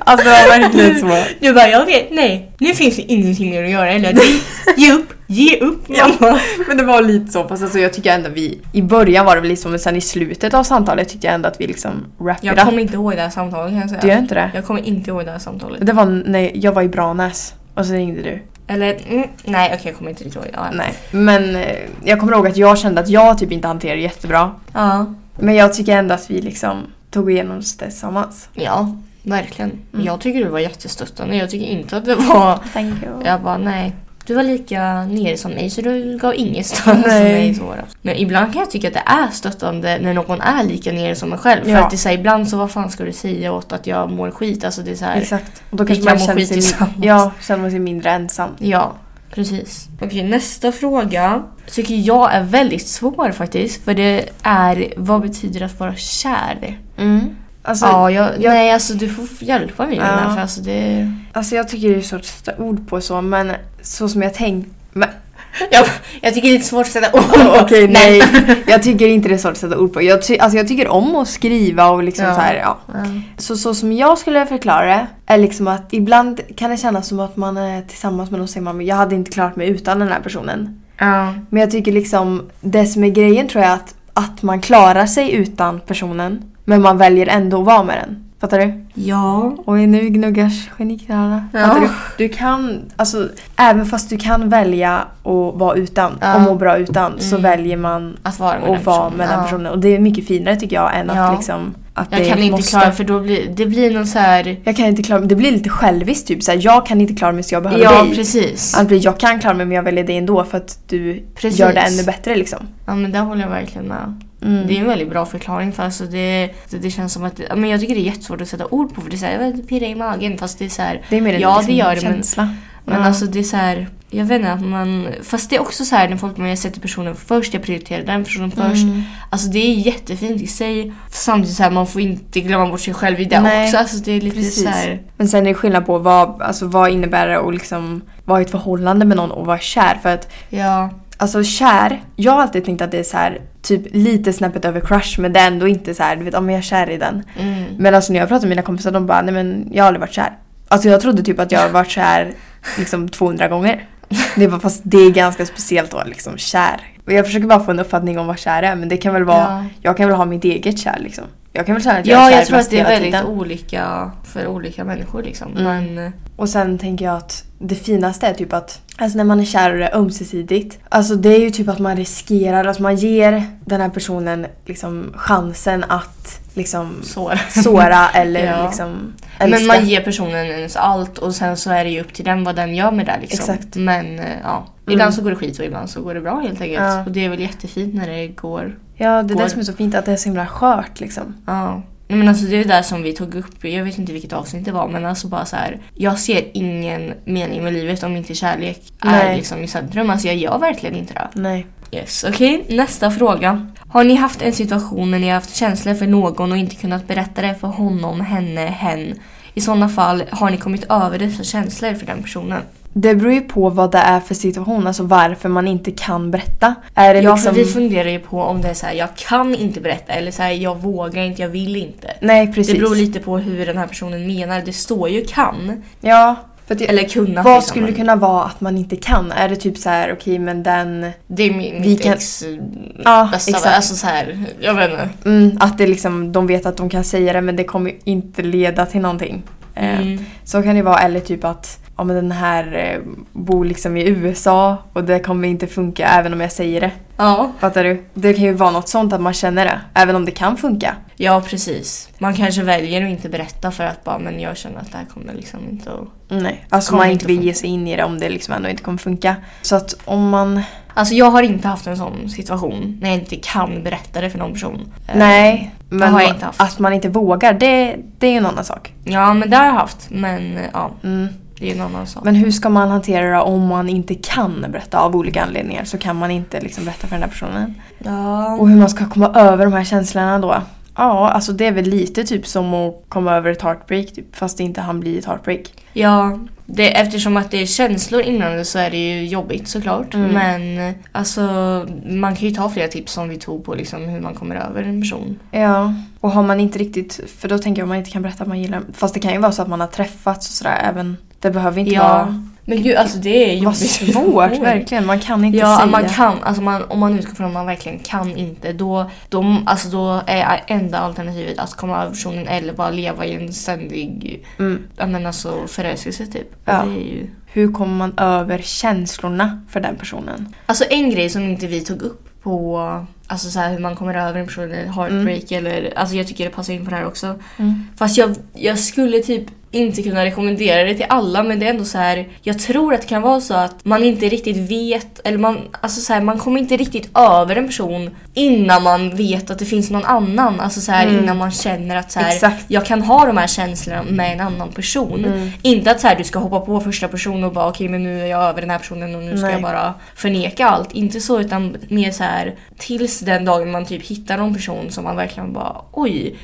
A: Alltså det var verkligen så.
B: Du bara, jag vet, nej, nu finns det ingenting mer att göra. Eller nej, ge upp, ge upp
A: Ja.
B: mamma.
A: Men det var lite så, fast alltså, jag tycker ändå vi... I början var det väl liksom, men sen i slutet av samtalet tyckte jag ändå att vi liksom wrap it
B: Jag
A: up.
B: kommer inte ihåg det här samtalet kan jag säga.
A: Du gör inte det?
B: Jag kommer inte ihåg det här samtalet.
A: Det var när jag var i Branäs och så ringde du.
B: Eller, mm, nej okej jag kommer inte riktigt ihåg det. Ja.
A: Nej. Men eh, jag kommer ihåg att jag kände att jag typ inte hanterade det jättebra.
B: Ja.
A: Men jag tycker ändå att vi liksom tog igenom det tillsammans.
B: ja, verkligen.
A: Mm.
B: Jag tycker du var jättestöttande. Jag tycker inte att det var...
A: Thank you.
B: Jag bara, nej. Du var lika nere som mig så du gav inget stöd som
A: Nej.
B: mig. Så. Men ibland kan jag tycka att det är stöttande när någon är lika nere som en själv. För
A: Ja.
B: att det är så här, ibland så vad fan ska du säga åt att jag mår skit? Alltså det är så här,
A: Exakt. Och då
B: Vi
A: kanske
B: kan
A: man
B: må
A: känner
B: skit
A: sig,
B: tillsammans. <laughs>
A: ja, känner man sig mindre ensam.
B: Ja, precis. Okej, nästa fråga tycker jag är väldigt svår faktiskt. För det är, vad betyder att vara kär?
A: Mm. Alltså,
B: ja, jag, nej alltså du får f- hjälpa mig med
A: Ja.
B: den här för alltså det...
A: alltså jag tycker det är svårt att sätta ord på så, men så som jag tänkt... Men,
B: <laughs> Jag, jag tycker det är lite svårt att <laughs> sätta ord
A: Okej,
B: på.
A: <laughs> nej. jag tycker inte det är svårt att sätta ord på. Jag, ty- alltså jag tycker om att skriva och liksom
B: Ja.
A: så här, ja.
B: Ja.
A: Så, så som jag skulle förklara det är liksom att ibland kan det kännas som att man är tillsammans med någon och säger man "Men jag hade inte klarat mig utan den här personen.
B: Ja.
A: Men jag tycker liksom det som är grejen tror jag är att, att man klarar sig utan personen men man väljer ändå att vara med den. Fattar du?
B: ja.
A: Oj, nu gnuggas geniknölarna.
B: Ja.
A: Fattar du? Du kan, alltså även fast du kan välja att vara utan
B: Ja.
A: och må bra utan så
B: Mm.
A: väljer man
B: Att vara med den
A: att vara
B: personen.
A: med den
B: Ja.
A: personen. Och det är mycket finare tycker jag än
B: Ja.
A: att liksom att
B: Jag
A: det
B: kan inte
A: måste
B: klara för då blir det blir någon så här...
A: jag kan inte klara mig. Det blir lite själviskt typ såhär, jag kan inte klara mig så jag behöver
B: Ja,
A: dig.
B: precis.
A: Annars blir jag kan klara mig men jag väljer dig ändå för att du
B: Precis.
A: gör det ännu bättre liksom.
B: Ja men där håller jag verkligen med.
A: Mm.
B: Det är en väldigt bra förklaring för alltså det, det, det känns som att, ja, men jag tycker det är jättesvårt att sätta ord på för det är såhär, jag vet, pirrar i magen fast det är såhär,
A: Det är mer en
B: Ja,
A: liksom,
B: det gör det, men-
A: känsla.
B: men
A: Ja.
B: alltså det är såhär, jag vet inte, att man, fast det är också såhär när folk men jag sätter personen först, jag prioriterar den personen
A: Mm.
B: först. Alltså det är jättefint i sig, samtidigt såhär man får inte glömma bort sig själv i det
A: Nej,
B: också. Alltså det är lite
A: precis.
B: såhär,
A: Men sen är det skillnad på vad, alltså, vad innebär det att liksom vara i ett förhållande med någon och vara kär. För att
B: ja.
A: alltså kär, jag har alltid tänkt att det är så här, typ lite snäppet över crush men det är ändå inte så här, du vet om jag är kär i den.
B: Mm.
A: Men alltså när jag pratar med mina kompisar de bara nej men jag har aldrig varit kär. Alltså jag trodde typ att jag har varit kär liksom 200 gånger. Det var fast det är ganska speciellt att vara liksom kär. Och jag försöker bara få en uppfattning om vad kär är men det kan väl vara,
B: Ja.
A: jag kan väl ha mitt eget kär liksom. Jag kan väl känna att jag
B: Ja,
A: är kär
B: jag tror
A: fast
B: att det är
A: hela
B: väldigt
A: tiden.
B: olika för olika människor liksom.
A: Mm.
B: Men,
A: Och sen tänker jag att det finaste är typ att Alltså när man är kär och det är ömsesidigt. Alltså det är ju typ att man riskerar, alltså man ger den här personen liksom chansen att liksom
B: så. <laughs>
A: såra eller
B: Ja.
A: liksom
B: Men
A: älska.
B: man ger personen ens allt och sen så är det ju upp till den vad den gör med det liksom.
A: Exakt. Mm.
B: Men eh, ja, ibland så går det skit och ibland så går det bra helt enkelt.
A: Ja.
B: Och det är väl jättefint när det går.
A: Ja, det är
B: går.
A: det som är så fint, att det är så himla skört liksom.
B: Ja. Nej, men alltså det är ju där som vi tog upp, jag vet inte vilket avsnitt det var men alltså bara så här. Jag ser ingen mening med livet om inte kärlek är
A: Nej.
B: liksom i centrum. Alltså jag gör verkligen inte det.
A: Nej.
B: Yes, okej. Nästa fråga. Har ni haft en situation när ni har haft känslor för någon och inte kunnat berätta det för honom, henne, hen? I sådana fall, har ni kommit över dessa känslor för den personen?
A: Det beror ju på vad det är för situation, alltså varför man inte kan berätta. Är det
B: ja,
A: liksom...
B: för vi funderar ju på om det är så här, jag kan inte berätta eller så här, jag vågar inte, jag vill inte.
A: Nej, precis.
B: Det beror lite på hur den här personen menar. Det står ju kan.
A: Ja. För att,
B: Eller kunna.
A: vad
B: liksom,
A: skulle det
B: men
A: kunna vara att man inte kan? Är det typ så här, okej men den...
B: Det är min,
A: Vi
B: mitt
A: kan-
B: ex eh,
A: Ja,
B: bästa
A: exakt.
B: vän. Alltså så här, jag vet inte.
A: Mm, att det liksom, de vet att de kan säga det men det kommer ju inte leda till någonting. Eh,
B: Mm.
A: Så kan det vara, eller typ att ja, men den här eh, bor liksom i USA och det kommer inte funka även om jag säger det.
B: Ja.
A: Fattar du? Det kan ju vara något sånt att man känner det, även om det kan funka.
B: ja, precis. Man kanske väljer att inte berätta för att bara, men jag känner att det här kommer liksom inte att...
A: Nej, alltså
B: Kommer
A: man
B: inte
A: inte vill
B: funka.
A: ge sig in i det om det liksom ändå inte kommer funka. Så att om man...
B: Alltså jag har inte haft en sån situation när jag inte kan berätta det för någon person. Eh,
A: nej, men
B: har jag inte haft.
A: att man inte vågar, det, det är ju en annan sak.
B: Ja, men det har jag haft. Men eh, ja,
A: Mm.
B: det är en annan sak.
A: Men hur ska man hantera det om man inte kan berätta av olika anledningar? Så kan man inte liksom berätta för den här personen.
B: Ja.
A: Och hur man ska komma över de här känslorna då? Ja, Ja, alltså det är väl lite typ som att komma över ett heartbreak typ, fast det inte han blir ett heartbreak.
B: Ja, det, eftersom att det är känslor inblandade så är det ju jobbigt såklart.
A: Mm.
B: Men alltså, man kan ju ta flera tips som vi tog på liksom, hur man kommer över en person.
A: Ja. Och har man inte riktigt, för då tänker jag om man inte kan berätta att man gillar Fast det kan ju vara så att man har träffats och sådär även. Det behöver inte
B: Ja,
A: vara
B: Men gud, alltså det är
A: vad
B: jobbigt. <laughs>
A: svårt verkligen. Man kan inte
B: Ja,
A: säga.
B: man kan, alltså man, om man utgår från att man verkligen kan inte då, då, alltså då är enda alternativet att komma över personen eller bara leva i en ständig
A: Mm.
B: ja, men alltså, förälskelse typ. Och
A: Ja.
B: Det är ju...
A: Hur kommer man över känslorna för den personen?
B: Alltså en grej som inte vi tog upp på alltså så här hur man kommer över en person eller heartbreak
A: Mm.
B: eller alltså jag tycker det passar in på det här också. Fast jag, jag skulle typ inte kunna rekommendera det till alla men det är ändå så här jag tror att det kan vara så att man inte riktigt vet eller man alltså så här man kommer inte riktigt över en person innan man vet att det finns någon annan alltså så här
A: Mm.
B: innan man känner att så här
A: Exakt.
B: jag kan ha de här känslorna med en annan person.
A: Mm.
B: Inte att så här, du ska hoppa på första person och bara okej men nu är jag över den här personen och nu ska
A: Nej.
B: jag bara förneka allt. Inte så utan mer så här tills den dagen man typ hittar någon person som man verkligen bara oj,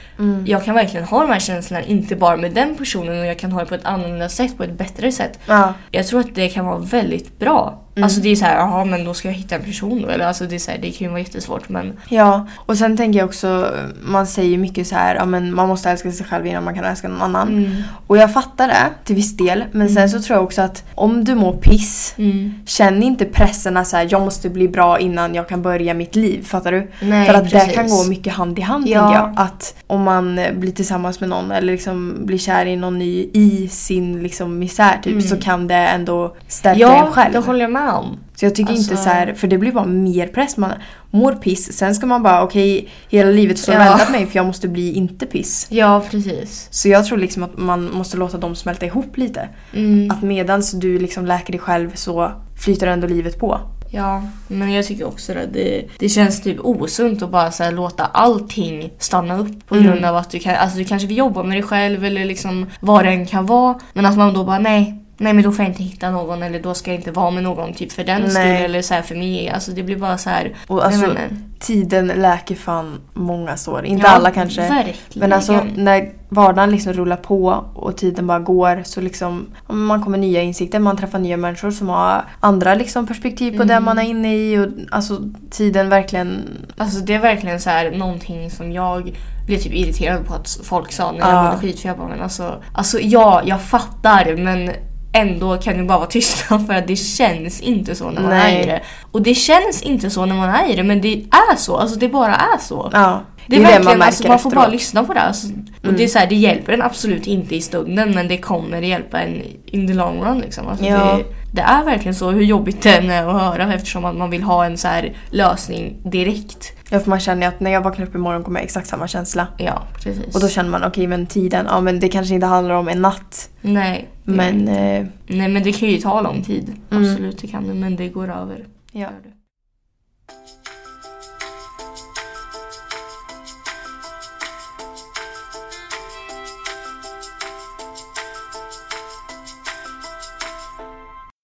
B: jag kan verkligen ha de här känslorna inte bara med den personen och jag kan ha det på ett annorlunda sätt, på ett bättre sätt.
A: Ja.
B: Jag tror att det kan vara väldigt bra. Alltså det är så här, jaha men då ska jag hitta en person då. Eller alltså det är så här, det kan ju vara jättesvårt men
A: ja, och sen tänker jag också, man säger ju mycket så här, ja, men man måste älska sig själv innan man kan älska någon annan.
B: mm.
A: Och jag fattar det till viss del, men sen så tror jag också att om du mår piss
B: Mm.
A: Känn inte pressen att så här, jag måste bli bra innan jag kan börja mitt liv. Fattar du?
B: Nej,
A: För att det
B: precis.
A: kan gå mycket hand i hand
B: Ja.
A: tänker jag. Att om man eh, blir tillsammans med någon eller liksom blir kär i någon ny i sin liksom misär typ
B: Mm.
A: så kan det ändå stärka en
B: Ja,
A: själv.
B: det håller jag med om.
A: Så jag tycker
B: Alltså-
A: inte så här, för det blir bara mer press. Man mår piss, sen ska man bara okej hela livet står och
B: Ja.
A: väntar på mig för jag måste bli inte piss.
B: Ja, precis.
A: Så jag tror liksom att man måste låta dem smälta ihop lite.
B: Mm.
A: Att medans du liksom läker dig själv så flyter ändå livet på.
B: Ja, men jag tycker också det. Det, det känns typ osunt att bara så här, låta allting stanna upp på
A: Mm.
B: grund av att du, kan, alltså, du kanske vill jobba med dig själv eller liksom vad det än kan vara. Men att man då bara nej, nej men då får jag inte hitta någon eller då ska jag inte vara med någon typ för den
A: Nej.
B: skull eller så här för mig. Alltså det blir bara så här.
A: Och alltså,
B: nej, men, nej.
A: Tiden läker fan många sår. Inte
B: Ja,
A: alla kanske.
B: Verkligen.
A: Men alltså när vardagen liksom rullar på och tiden bara går så liksom ja, men man kommer nya insikter, man träffar nya människor som har andra liksom perspektiv på det
B: Mm.
A: man är inne i och alltså tiden verkligen...
B: Alltså det är verkligen så här någonting som jag blev typ irriterad på att folk sa när jag
A: Ja.
B: mådde skit för jag bara men alltså, alltså ja, jag fattar men ändå kan du bara vara tysta <laughs> för att det känns inte så när man
A: Nej.
B: är i det. Och det känns inte så när man är i det men det är så, alltså det bara är så.
A: Ja,
B: Det är, verkligen, man, alltså,
A: märker
B: man får bara
A: efteråt. Mm.
B: lyssna på det. Alltså, och det, är så här, det hjälper en absolut inte i stunden men det kommer hjälpa en in the long run. Liksom. Alltså,
A: Ja.
B: det, det är verkligen så hur jobbigt det än är att höra eftersom att man vill ha en så här lösning direkt.
A: Ja, för man känner ju att när jag vaknar upp imorgon kommer jag ha exakt samma känsla.
B: Ja, precis.
A: Och då känner man okej men tiden, ja men det kanske inte handlar om en natt.
B: Nej.
A: Men eh,
B: Nej men det kan ju ta lång tid.
A: Mm.
B: Absolut det kan det men det går över.
A: ja.
B: Gör det.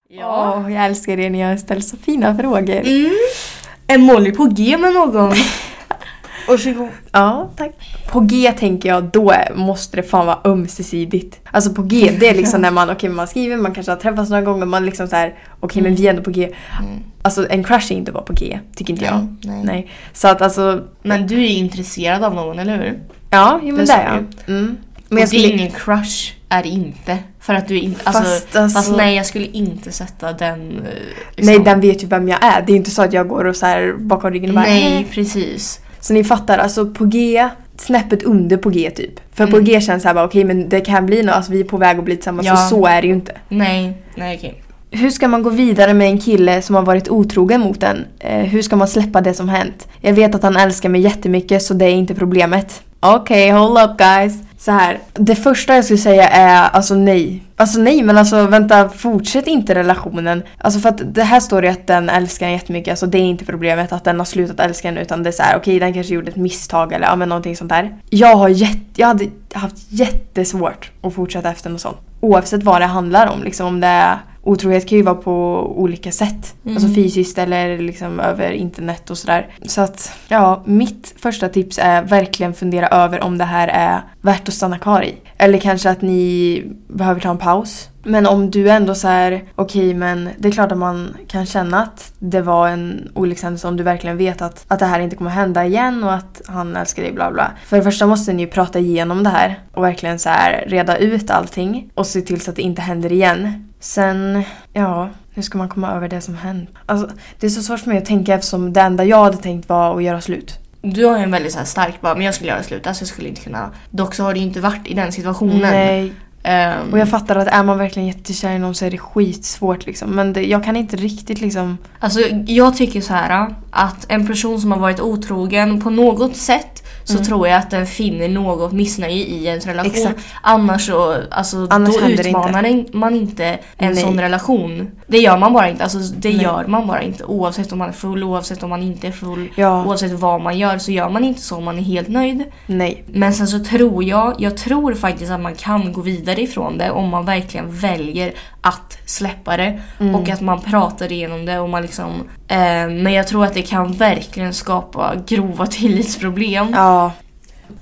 B: Ja.
A: Åh, jag älskar er, ni har ställt så fina frågor.
B: Mm. Är Molly på G med <laughs> någon? Varsågod.
A: Ja, tack. På G tänker jag, då måste det fan vara ömsesidigt. Alltså på G, det är liksom
B: <laughs>
A: när man, okej man skriver, man kanske har träffats några gånger, man liksom så här, okej men vi är ändå på G.
B: Mm.
A: Alltså en crush är inte bara på G, tycker inte jag.
B: Nej.
A: Nej. Så att alltså,
B: Men du är ju intresserad av någon, eller hur?
A: ja, jo men
B: Det
A: det
B: sa
A: är jag. Mm. Men jag
B: och det är
A: skulle,
B: ingen crush, är det inte. För att du är inte... Alltså,
A: Fast,
B: fast,
A: alltså-
B: nej, jag skulle inte sätta den... eh,
A: nej
B: liksom-
A: den vet ju vem jag är, det är inte så att jag går och så här bakom ryggen och bara
B: Nej,
A: "Eh."
B: precis.
A: Så ni fattar, alltså på G, snäppet under på G typ. För på
B: Mm.
A: G känns det här bara okej men det kan bli något, alltså vi är på väg att bli tillsammans
B: Ja.
A: och så är det ju inte.
B: Nej, nej okej.
A: Hur ska man gå vidare med en kille som har varit otrogen mot en? Eh, hur ska man släppa det som hänt? Jag vet att han älskar mig jättemycket så det är inte problemet. Okej, hold up guys. Så här. Det första jag skulle säga är alltså nej. Alltså nej men alltså vänta, fortsätt inte relationen. Alltså för att det här står ju att den älskar en jättemycket, alltså det är inte problemet att den har slutat älska en utan det är så här, okej den kanske gjorde ett misstag eller ja men någonting sånt där. Jag har jätte, jag hade haft jättesvårt att fortsätta efter något sånt. Oavsett vad det handlar om liksom, om det är otrohet kan ju vara på olika sätt. Alltså fysiskt eller liksom över internet och sådär. Så att ja, mitt första tips är verkligen fundera över om det här är värt att stanna kvar i. Eller kanske att ni behöver ta en paus. Men om du ändå så här, okej men det är klart att man kan känna att det var en olyckshändelse om du verkligen vet att, att det här inte kommer hända igen och att han älskar dig bla bla. För det första måste ni ju prata igenom det här och verkligen så här reda ut allting och se till så att det inte händer igen. Sen, ja, hur ska man komma över det som hänt? Alltså, det är så svårt för mig att tänka eftersom det enda jag hade tänkt var att göra slut.
B: Du har ju en väldigt så här stark bara, men jag skulle göra slut. Alltså jag skulle inte kunna. Dock så har du ju inte varit i den situationen.
A: Nej.
B: Ehm,
A: Och jag fattar att är man verkligen jättekär i någon så är det skitsvårt liksom. Men det, jag kan inte riktigt liksom...
B: Alltså jag tycker så här att en person som har varit otrogen på något sätt så tror jag att den finner något missnöje i ens relation.
A: Mm. Exakt.
B: Annars så alltså,
A: Annars
B: då
A: händer det
B: utmanar man inte en
A: Nej.
B: sån relation. Det gör man bara inte. Alltså, det
A: Nej.
B: gör man bara inte. Oavsett om man är full, oavsett om man inte är full,
A: Ja.
B: oavsett vad man gör så gör man inte så om man är helt nöjd.
A: Nej.
B: Men sen så tror jag, jag tror faktiskt att man kan gå vidare ifrån det om man verkligen väljer att släppa det. Och att man pratar igenom det och man liksom... Eh, men jag tror att det kan verkligen skapa grova <laughs> tillitsproblem.
A: Ja.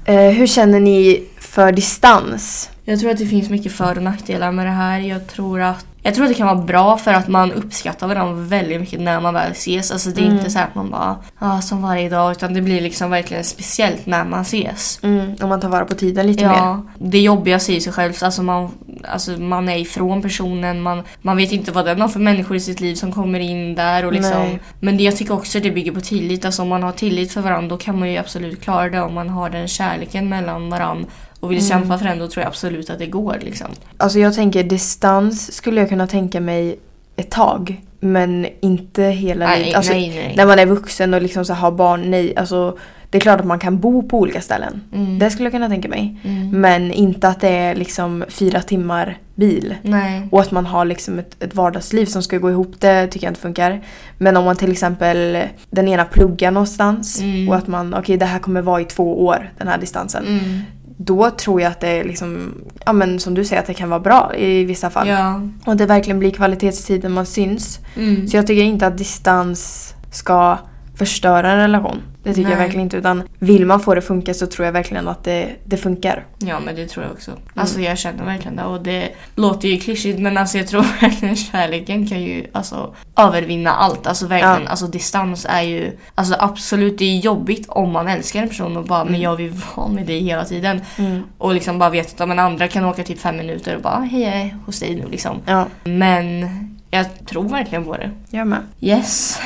A: Eh, hur känner ni för distans?
B: Jag tror att det finns mycket för och nackdelar med det här. Jag tror att jag tror att det kan vara bra för att man uppskattar varandra väldigt mycket när man väl ses. Alltså det är inte så här att man bara ah, som varje dag utan det blir liksom verkligen speciellt när man ses.
A: Mm, om man tar vara på tiden lite mer.
B: Ja, det jobbiga säger sig självt. Alltså man, alltså man är ifrån personen, man, man vet inte vad den har för människor i sitt liv som kommer in där. Och liksom.
A: Nej.
B: Men det, jag tycker också det bygger på tillit. Alltså om man har tillit för varandra då kan man ju absolut klara det. Om man har den kärleken mellan varandra och vill
A: Mm.
B: kämpa för den då tror jag absolut att det går. Liksom.
A: Alltså jag tänker distans skulle jag kunna tänka mig ett tag. Men inte hela
B: Nej,
A: livet. Alltså,
B: nej, nej.
A: När man är vuxen och liksom så har barn, nej. Alltså, det är klart att man kan bo på olika ställen.
B: Mm.
A: Det skulle jag kunna tänka mig. Men inte att det är liksom fyra timmar bil.
B: Nej.
A: Och att man har liksom ett, ett vardagsliv som ska gå ihop, det tycker jag inte funkar. Men om man till exempel, den ena pluggar någonstans
B: Mm.
A: och att man, okej det här kommer vara i två år, den här distansen.
B: Mm.
A: Då tror jag att det är liksom, ja men som du säger att det kan vara bra i vissa fall.
B: Ja.
A: Och det verkligen blir kvalitetstid när man syns.
B: Mm.
A: Så jag tycker inte att distans ska förstöra en relation. Det tycker jag
B: Nej.
A: verkligen inte. Utan vill man få det att funka så tror jag verkligen att det, det funkar.
B: Ja men det tror jag också. Alltså jag känner verkligen det och det låter ju klyschigt men alltså jag tror <laughs> verkligen kärleken kan ju alltså övervinna allt. Alltså verkligen,
A: Ja.
B: alltså distans är ju alltså absolut det är jobbigt om man älskar en person och bara men jag vill vara med dig hela tiden.
A: Mm.
B: Och liksom bara vet att ja, men andra kan åka typ fem minuter och bara hej jag är hos dig nu liksom.
A: Ja,
B: Men jag tror verkligen på det.
A: jag med.
B: Yes.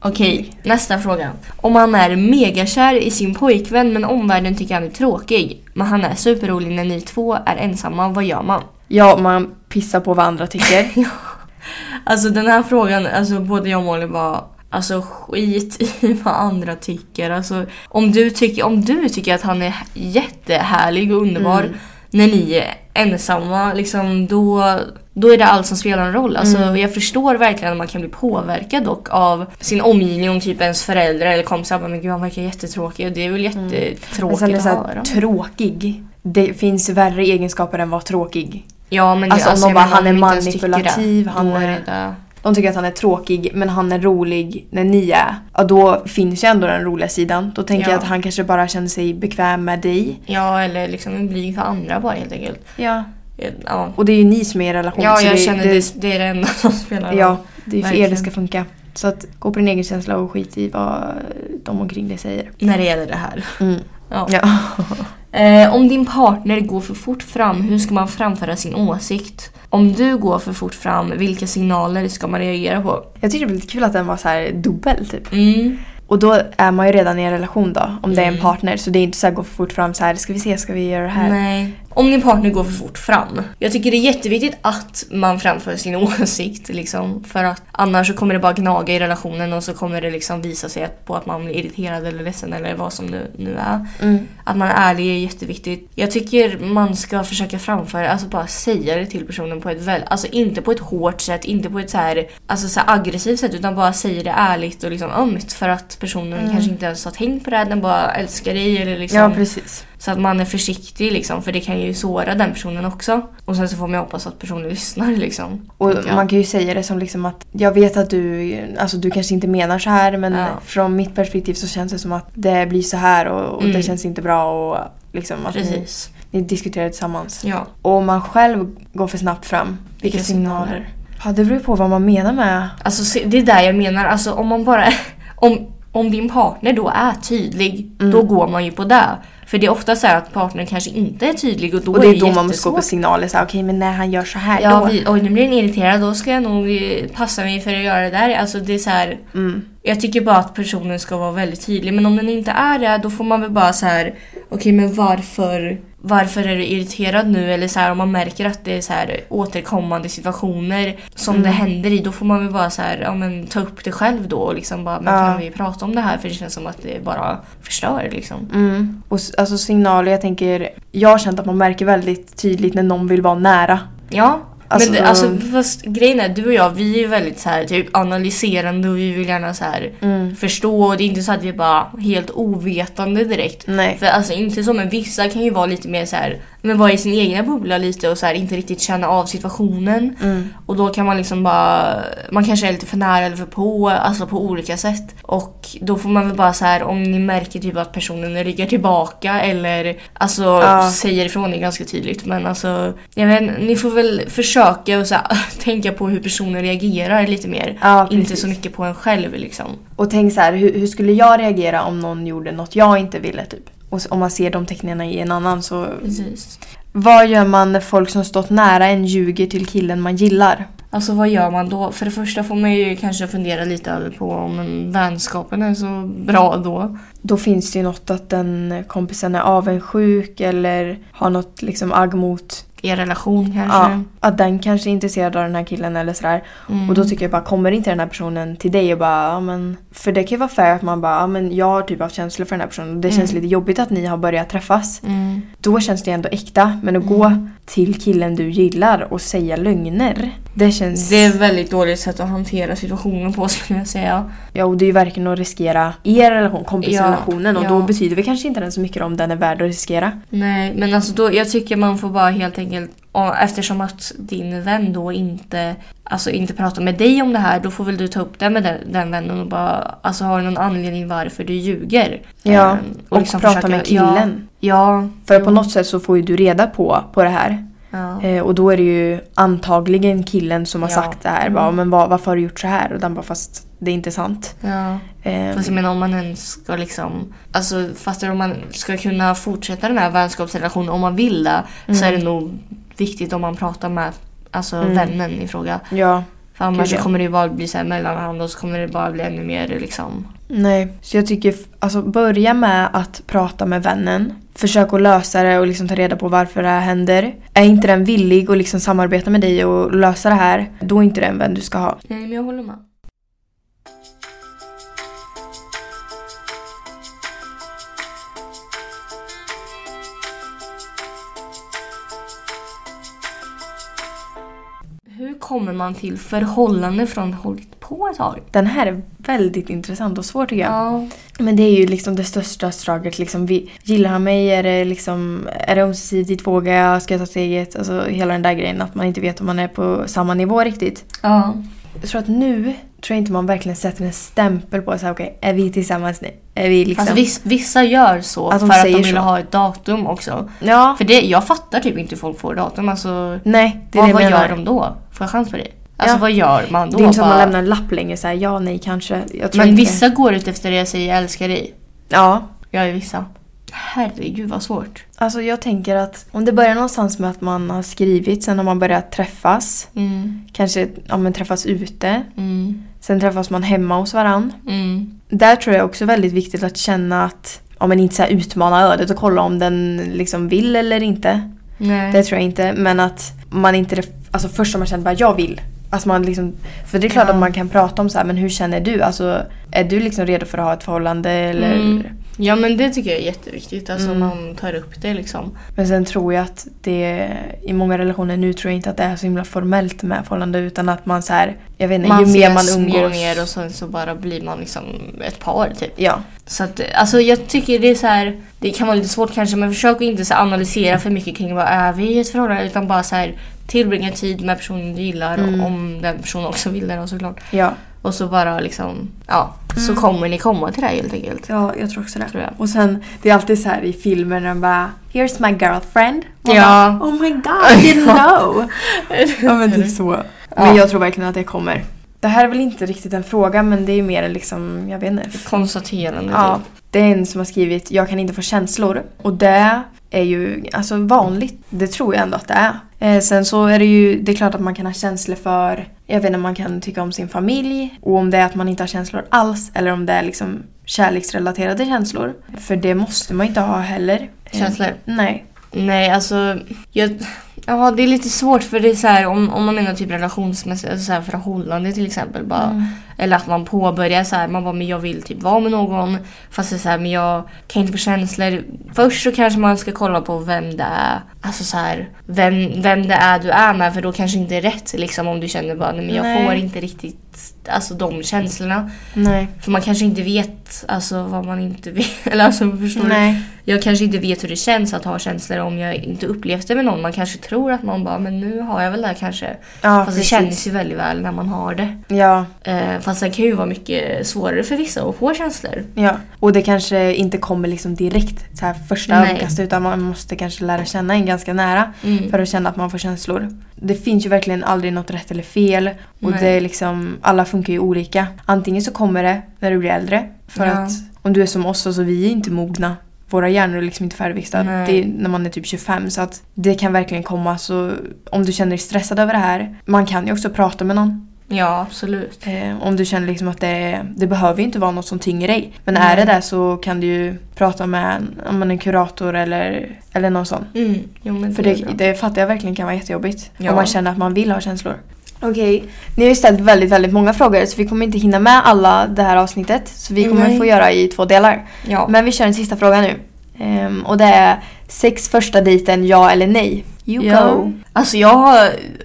B: Okej, nästa fråga. Om han är megakär i sin pojkvän men omvärlden tycker han är tråkig, men han är superrolig när ni två är ensamma, vad gör man?
A: Ja, man pissar på vad andra tycker.
B: Alltså den här frågan, alltså både jag och Molly bara Alltså skit i <laughs> vad andra tycker. Alltså, om, du tycker om du tycker att han är jättehärlig och underbar
A: Mm.
B: när ni är ensamma, liksom, då, då är det allt som spelar en roll. Alltså,
A: Mm.
B: Jag förstår verkligen att man kan bli påverkad dock av sin omgivning, typ ens föräldrar eller kompisar. Bara, Men gud han verkar jättetråkig och det är väl
A: <laughs> Mm. Men
B: jättetråkigt
A: sen är det
B: att
A: så här,
B: höra.
A: tråkig. Det finns värre egenskaper än att vara tråkig.
B: Ja men
A: Alltså, om någon
B: jag
A: bara,
B: menar,
A: han är
B: man inte ens tycker
A: manipulativ,
B: det,
A: han
B: då
A: är-
B: det där.
A: De tycker att han är tråkig men han är rolig när ni är. Ja då finns ju ändå den roliga sidan. Då tänker
B: Ja.
A: jag att han kanske bara känner sig bekväm med dig.
B: Ja eller liksom en blyg för andra bara helt enkelt.
A: Ja.
B: Ja,
A: Och det är ju ni som är i relation.
B: ja
A: så
B: jag
A: det,
B: känner det, det är det enda som spelar roll.
A: Ja, det är för er det
B: Verkligen.
A: ska funka. Så att gå på din egen känsla och skit i vad de omkring dig säger.
B: När det gäller det här.
A: Mm.
B: Ja.
A: Ja.
B: Eh, om din partner går för fort fram, hur ska man framföra sin åsikt? Om du går för fort fram, vilka signaler ska man reagera på?
A: <laughs> Jag tycker det blir lite kul att den var så här dubbel typ.
B: Mm.
A: Och då är man ju redan i en relation då, om det är en partner. Så det är inte så här gå för fort fram så här, ska vi se, ska vi göra det här?
B: Nej. Om din partner går för fort fram. Jag tycker det är jätteviktigt att man framför sin <laughs> åsikt. Liksom, för att annars så kommer det bara gnaga i relationen och så kommer det liksom visa sig att, på att man blir irriterad eller ledsen eller vad som nu, nu är. Att man är ärlig är jätteviktigt. Jag tycker man ska försöka framföra, alltså bara säga det till personen på ett väl, alltså inte på ett hårt sätt, inte på ett så här, alltså så här aggressivt sätt utan bara säga det ärligt och liksom ömt för att personen kanske inte ens har tänkt på det här, den bara älskar dig eller liksom
A: Ja, precis.
B: Så att man är försiktig liksom, för det kan ju såra den personen också. Och sen så får man ju hoppas att personen lyssnar liksom.
A: Och
B: tänker jag.
A: man kan ju säga det som liksom att jag vet att du, alltså du kanske inte menar så här men
B: Ja.
A: från mitt perspektiv så känns det som att det blir så här och, och det
B: Mm.
A: känns inte bra och liksom att ni,
B: Precis.
A: ni diskuterar tillsammans.
B: Ja.
A: Och om man själv går för snabbt fram, vilka,
B: Vilka
A: signaler?
B: signaler?
A: Ja, det beror ju på vad man menar med.
B: Alltså se- det är där jag menar, alltså om man bara... <laughs> Om, om din partner då är tydlig,
A: Mm.
B: då går man ju på det. För det är ofta så här att partnern kanske inte är tydlig och då
A: Och det är då
B: jättesvårt.
A: man måste gå på signaler. så här, Okej, men när han gör så här
B: Ja,
A: då.
B: vi, oj nu blir den irriterad, då ska jag nog eh, passa mig för att göra det där. Alltså det är så här,
A: Mm.
B: Jag tycker bara att personen ska vara väldigt tydlig, men om den inte är det då får man väl bara så här. okej men varför, varför är du irriterad nu? Eller så här, om man märker att det är så här återkommande situationer som det
A: Mm.
B: händer i, då får man väl bara så här, ja, men, ta upp det själv då och liksom bara, men
A: Ja.
B: kan vi prata om det här? För det känns som att det bara förstör liksom.
A: Mm. Och s- alltså signaler, jag tänker, jag har känt att man märker väldigt tydligt när någon vill vara nära.
B: Ja.
A: Alltså-
B: men det, alltså, fast grejen är, du och jag vi är väldigt så här, typ, analyserande och vi vill gärna så här,
A: Mm.
B: förstå och det är inte så att vi är bara helt ovetande direkt.
A: Nej.
B: För alltså inte så, men vissa kan ju vara lite mer så här, men vara i sin egna bubbla lite och så här, inte riktigt känna av situationen.
A: Mm.
B: Och då kan man liksom bara, man kanske är lite för nära eller för på, alltså på olika sätt. Och då får man väl bara så här, om ni märker typ att personen ryggar tillbaka eller alltså
A: Ja.
B: säger ifrån det ganska tydligt. Men alltså, jag vet, inte, ni får väl försöka och så här, <laughs> tänka på hur personen reagerar lite mer.
A: Ja,
B: inte
A: precis.
B: så mycket på en själv liksom.
A: Och tänk så här, hur, hur skulle jag reagera om någon gjorde något jag inte ville typ? Och s- om man ser de tecknen i en annan så...
B: Precis.
A: Vad gör man när folk som stått nära en ljuger till killen man gillar?
B: Alltså vad gör man då? För det första får man ju kanske fundera lite över på om vänskapen är så bra då.
A: Då finns det ju något att den kompisen är avundsjuk eller har något liksom agg mot...
B: Er relation kanske.
A: Ja, att den kanske är intresserad av den här killen eller sådär.
B: Mm.
A: Och då tycker jag bara, kommer inte den här personen till dig och bara, ja men... För det kan ju vara fair att man bara, ja men jag har typ haft känslor för den här personen och det känns
B: Mm.
A: lite jobbigt att ni har börjat träffas.
B: Mm.
A: Då känns det ändå äkta, men att gå till killen du gillar och säga lögner. Det känns...
B: Det är ett väldigt dåligt sätt att hantera situationen på <laughs> skulle jag säga.
A: Ja, och det är ju verkligen att riskera er relation, kompisrelationen
B: Ja,
A: och
B: ja.
A: då betyder vi kanske inte den så mycket om den är värd att riskera.
B: Nej, men alltså då, jag tycker man får bara helt enkelt, ja, eftersom att din vän då inte, alltså inte pratar med dig om det här, då får väl du ta upp det med den, den vännen och bara, alltså har du någon anledning varför du ljuger?
A: Ja,
B: Ehm,
A: och prata med killen.
B: Ja. ja
A: För på något sätt så får ju du reda på, på det här.
B: ja.
A: Eh, och då är det ju antagligen killen som har
B: Ja. Mm.
A: sagt det här. Bara, men vad, varför har du gjort så här? Och den bara, fast det är inte sant.
B: ja.
A: Eh,
B: Fast jag menar Alltså, om man ens ska liksom, alltså fattar du, om man ska kunna fortsätta den här vänskapsrelationen om man vill det så
A: Mm.
B: är det nog viktigt om man pratar med alltså vännen i fråga.
A: ja.
B: För annars
A: Mm. Gud, ja.
B: så kommer det ju bara bli så här mellanhand och så kommer det bara bli ännu mer liksom.
A: Nej, så jag tycker f- alltså börja med att prata med vännen. Försök att lösa det och liksom ta reda på varför det här händer. Är inte den villig att liksom samarbeta med dig och lösa det här, då är inte den vän du ska ha.
B: Nej men jag håller med. Hur kommer man till förhållande från hållit på ett tag?
A: Den här är väldigt intressant och svår tycker jag.
B: Ja.
A: Men det är ju liksom det största strugget. Liksom, vi, gillar han mig? Är det, liksom, är det ömsesidigt? Vågar jag? Ska jag ta steget? Alltså hela den där grejen att man inte vet om man är på samma nivå riktigt.
B: Ja.
A: Jag tror att nu tror jag inte man verkligen sätter en stämpel på så här, okej, är vi tillsammans nu? Är vi liksom...
B: Fast viss, vissa gör så
A: Att de
B: för att
A: säger
B: de vill
A: så.
B: ha ett datum också.
A: Ja.
B: För det, jag fattar typ inte hur folk får datum. Alltså,
A: Nej, det är
B: vad
A: det jag
B: vad
A: menar.
B: gör de då? Får jag chans på det? Alltså
A: Ja.
B: vad gör man då?
A: Det är inte som att man
B: Bara-
A: lämnar en lapp längre såhär, ja, nej, kanske. Jag tror
B: men
A: inte.
B: vissa går ut efter det jag säger jag älskar dig.
A: Ja.
B: Jag är vissa. Herregud vad svårt.
A: Alltså jag tänker att om det börjar någonstans med att man har skrivit, sen har man börjat träffas.
B: Mm,
A: Kanske ja, men träffas ute.
B: mm,
A: Sen träffas man hemma hos varann.
B: mm.
A: Där tror jag också väldigt viktigt att känna att Ja men inte så här utmana ödet och kolla om den liksom vill eller inte.
B: Nej.
A: Det tror jag inte. Men att man inte, alltså först om man känner bara jag vill. Alltså man liksom, för det är klart
B: Ja.
A: att man kan prata om så här, men hur känner du? Alltså är du liksom redo för att ha ett förhållande eller?
B: Mm. Ja men det tycker jag är jätteviktigt, alltså
A: Mm.
B: man tar upp det liksom.
A: Men sen tror jag att det i många relationer nu tror jag inte att det är så himla formellt med förhållande utan att man så här, jag vet inte, ju mer man
B: ses mer och
A: umgås.
B: mer och sen så bara blir man liksom ett par typ.
A: Ja,
B: Så att, alltså jag tycker det är så här, det kan vara lite svårt kanske men försök att inte så här analysera för mycket kring vad är vi i ett förhållande utan bara så här tillbringa tid med personen du gillar
A: Mm.
B: och om den personen också vill det då såklart.
A: ja.
B: Och så bara liksom, ja, så kommer ni komma till det här helt enkelt.
A: Ja, jag tror också det.
B: Tror jag.
A: Och sen, det är alltid så här i filmer när de bara “Here's my girlfriend”. Man
B: Ja.
A: Bara, oh my god, I
B: <laughs>
A: didn't know! ja men typ så. Men
B: Ja.
A: jag tror verkligen att det kommer. Det här är väl inte riktigt en fråga men det är mer liksom, jag vet inte.
B: Konstaterande
A: Ja,
B: typ.
A: det är en som har skrivit “Jag kan inte få känslor” och det är ju alltså vanligt. Det tror jag ändå att det är. Eh, sen så är det ju, det är klart att man kan ha känslor för, jag vet inte, man kan tycka om sin familj och om det är att man inte har känslor alls eller om det är liksom kärleksrelaterade känslor. För det måste man inte ha heller. Eh,
B: Känslor?
A: Nej.
B: Nej, alltså... Jag, ja, det är lite svårt för det är så här om, om man menar typ relationsmässigt, alltså så här förhållande till exempel. Bara, Eller att man påbörjar så här, man bara men jag vill typ vara med någon. Fast det är så här, men jag kan inte få känslor. Först så kanske man ska kolla på vem det är. Alltså så här, vem, vem det är du är med för då kanske inte är rätt liksom om du känner bara nej men jag
A: Nej.
B: får inte riktigt alltså de känslorna.
A: Nej.
B: För man kanske inte vet alltså vad man inte vet. <laughs> Eller alltså förstår du?
A: Nej.
B: Jag kanske inte vet hur det känns att ha känslor om jag inte upplevt det med någon. Man kanske tror att man bara, men nu har jag väl det här kanske.
A: Ja,
B: Fast det känns ju väldigt väl när man har det.
A: Ja,
B: Eh, fast det kan ju vara mycket svårare för vissa att få känslor.
A: ja. Och det kanske inte kommer liksom direkt så här första
B: Nej.
A: ögonkastet utan man måste kanske lära känna en ganska nära.
B: Mm.
A: för att känna att man får känslor. Det finns ju verkligen aldrig något rätt eller fel. Och
B: Nej.
A: det är liksom, alla funkar ju olika. Antingen så kommer det när du blir äldre. För
B: Ja.
A: att om du är som oss så så vi är inte mogna. Våra hjärnor är liksom inte färdigväxta.
B: Nej.
A: Det är när man är typ 25 så att det kan verkligen komma. Så om du känner dig stressad över det här. Man kan ju också prata med någon.
B: Ja, absolut.
A: Eh, om du känner liksom att det, det behöver ju inte vara något som tynger dig. Men
B: Nej.
A: är det där så kan du ju prata med en, om man är en kurator eller, eller någon sån.
B: Mm. Jo, men
A: För
B: det
A: det,
B: är bra.
A: det fattar jag verkligen kan vara jättejobbigt.
B: Ja.
A: Om man känner att man vill ha känslor. Okej, ni har ju ställt väldigt, väldigt många frågor så vi kommer inte hinna med alla det här avsnittet. Så vi kommer
B: Nej.
A: få göra i två delar.
B: ja.
A: Men vi kör en sista fråga nu. Ehm, och det är sex första dejten, ja eller nej? You
B: ja.
A: go.
B: Alltså jag har... <laughs>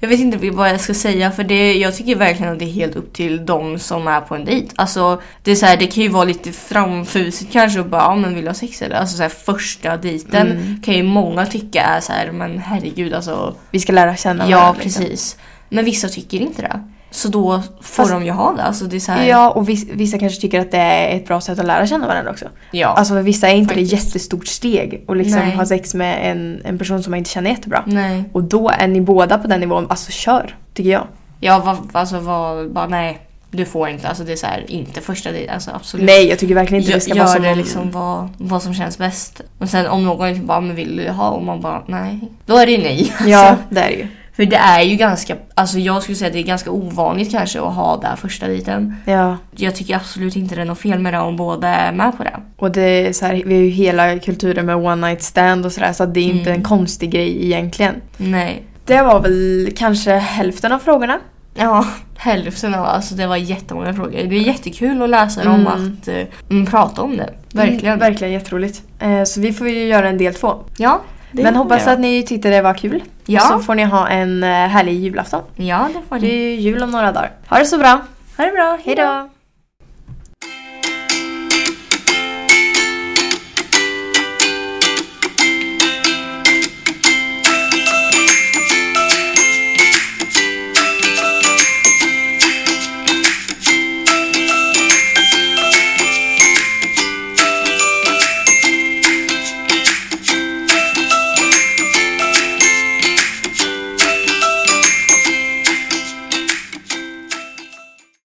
B: Jag vet inte vad jag ska säga för det, jag tycker verkligen att det är helt upp till de som är på en dejt. Alltså det, är så här, det kan ju vara lite framfusigt kanske och bara ja, men vill du ha sex eller? Alltså så här, första dejten
A: Mm.
B: kan ju många tycka är så här men herregud alltså.
A: Vi ska lära känna
B: Ja
A: varandra, liksom.
B: precis. Men vissa tycker inte det. Så då får
A: Fast-
B: de ju ha det. Alltså det är så här,
A: Ja, och viss- vissa kanske tycker att det är ett bra sätt att lära känna varandra också.
B: ja.
A: Alltså för vissa är inte det ett
B: Faktiskt.
A: jättestort steg att liksom
B: Nej.
A: ha sex med en, en person som man inte känner jättebra.
B: Nej.
A: Och då är ni båda på den nivån, alltså kör, tycker jag.
B: Ja va, alltså va, bara nej. Du får inte. Alltså det är så här, inte första dejten. Alltså absolut.
A: Nej, jag tycker verkligen inte det ska
B: Gör
A: vara som
B: det
A: om-
B: liksom vad, vad som känns bäst. Och sen om någon liksom bara men vill du ha och man bara nej. Då är det ju nej.
A: <laughs> Ja,
B: <laughs> Alltså,
A: det är det ju.
B: för det är ju ganska, alltså jag skulle säga att det är ganska ovanligt kanske att ha det här första dejten.
A: Ja.
B: Jag tycker absolut inte det är något fel med det om båda är med på det.
A: Och det är så här, vi har ju hela kulturen med one night stand och sådär så att det är inte
B: Mm.
A: en konstig grej egentligen.
B: Nej.
A: Det var väl kanske hälften av frågorna. Mm,
B: Ja, hälften av alltså det var jättemånga frågor. Det är jättekul att läsa
A: Mm.
B: om att eh, mm, prata om det. Verkligen.
A: Mm, verkligen jätteroligt. Eh, så vi får ju göra en del två.
B: Ja, det
A: Men
B: gör
A: hoppas
B: jag.
A: att ni tyckte det var kul.
B: Ja. Mm.
A: Och så får ni ha en eh, härlig julafton.
B: Ja, det får
A: Det
B: ni.
A: är ju jul om några dagar. Ha det så bra.
B: Ha det bra.
A: Hejdå!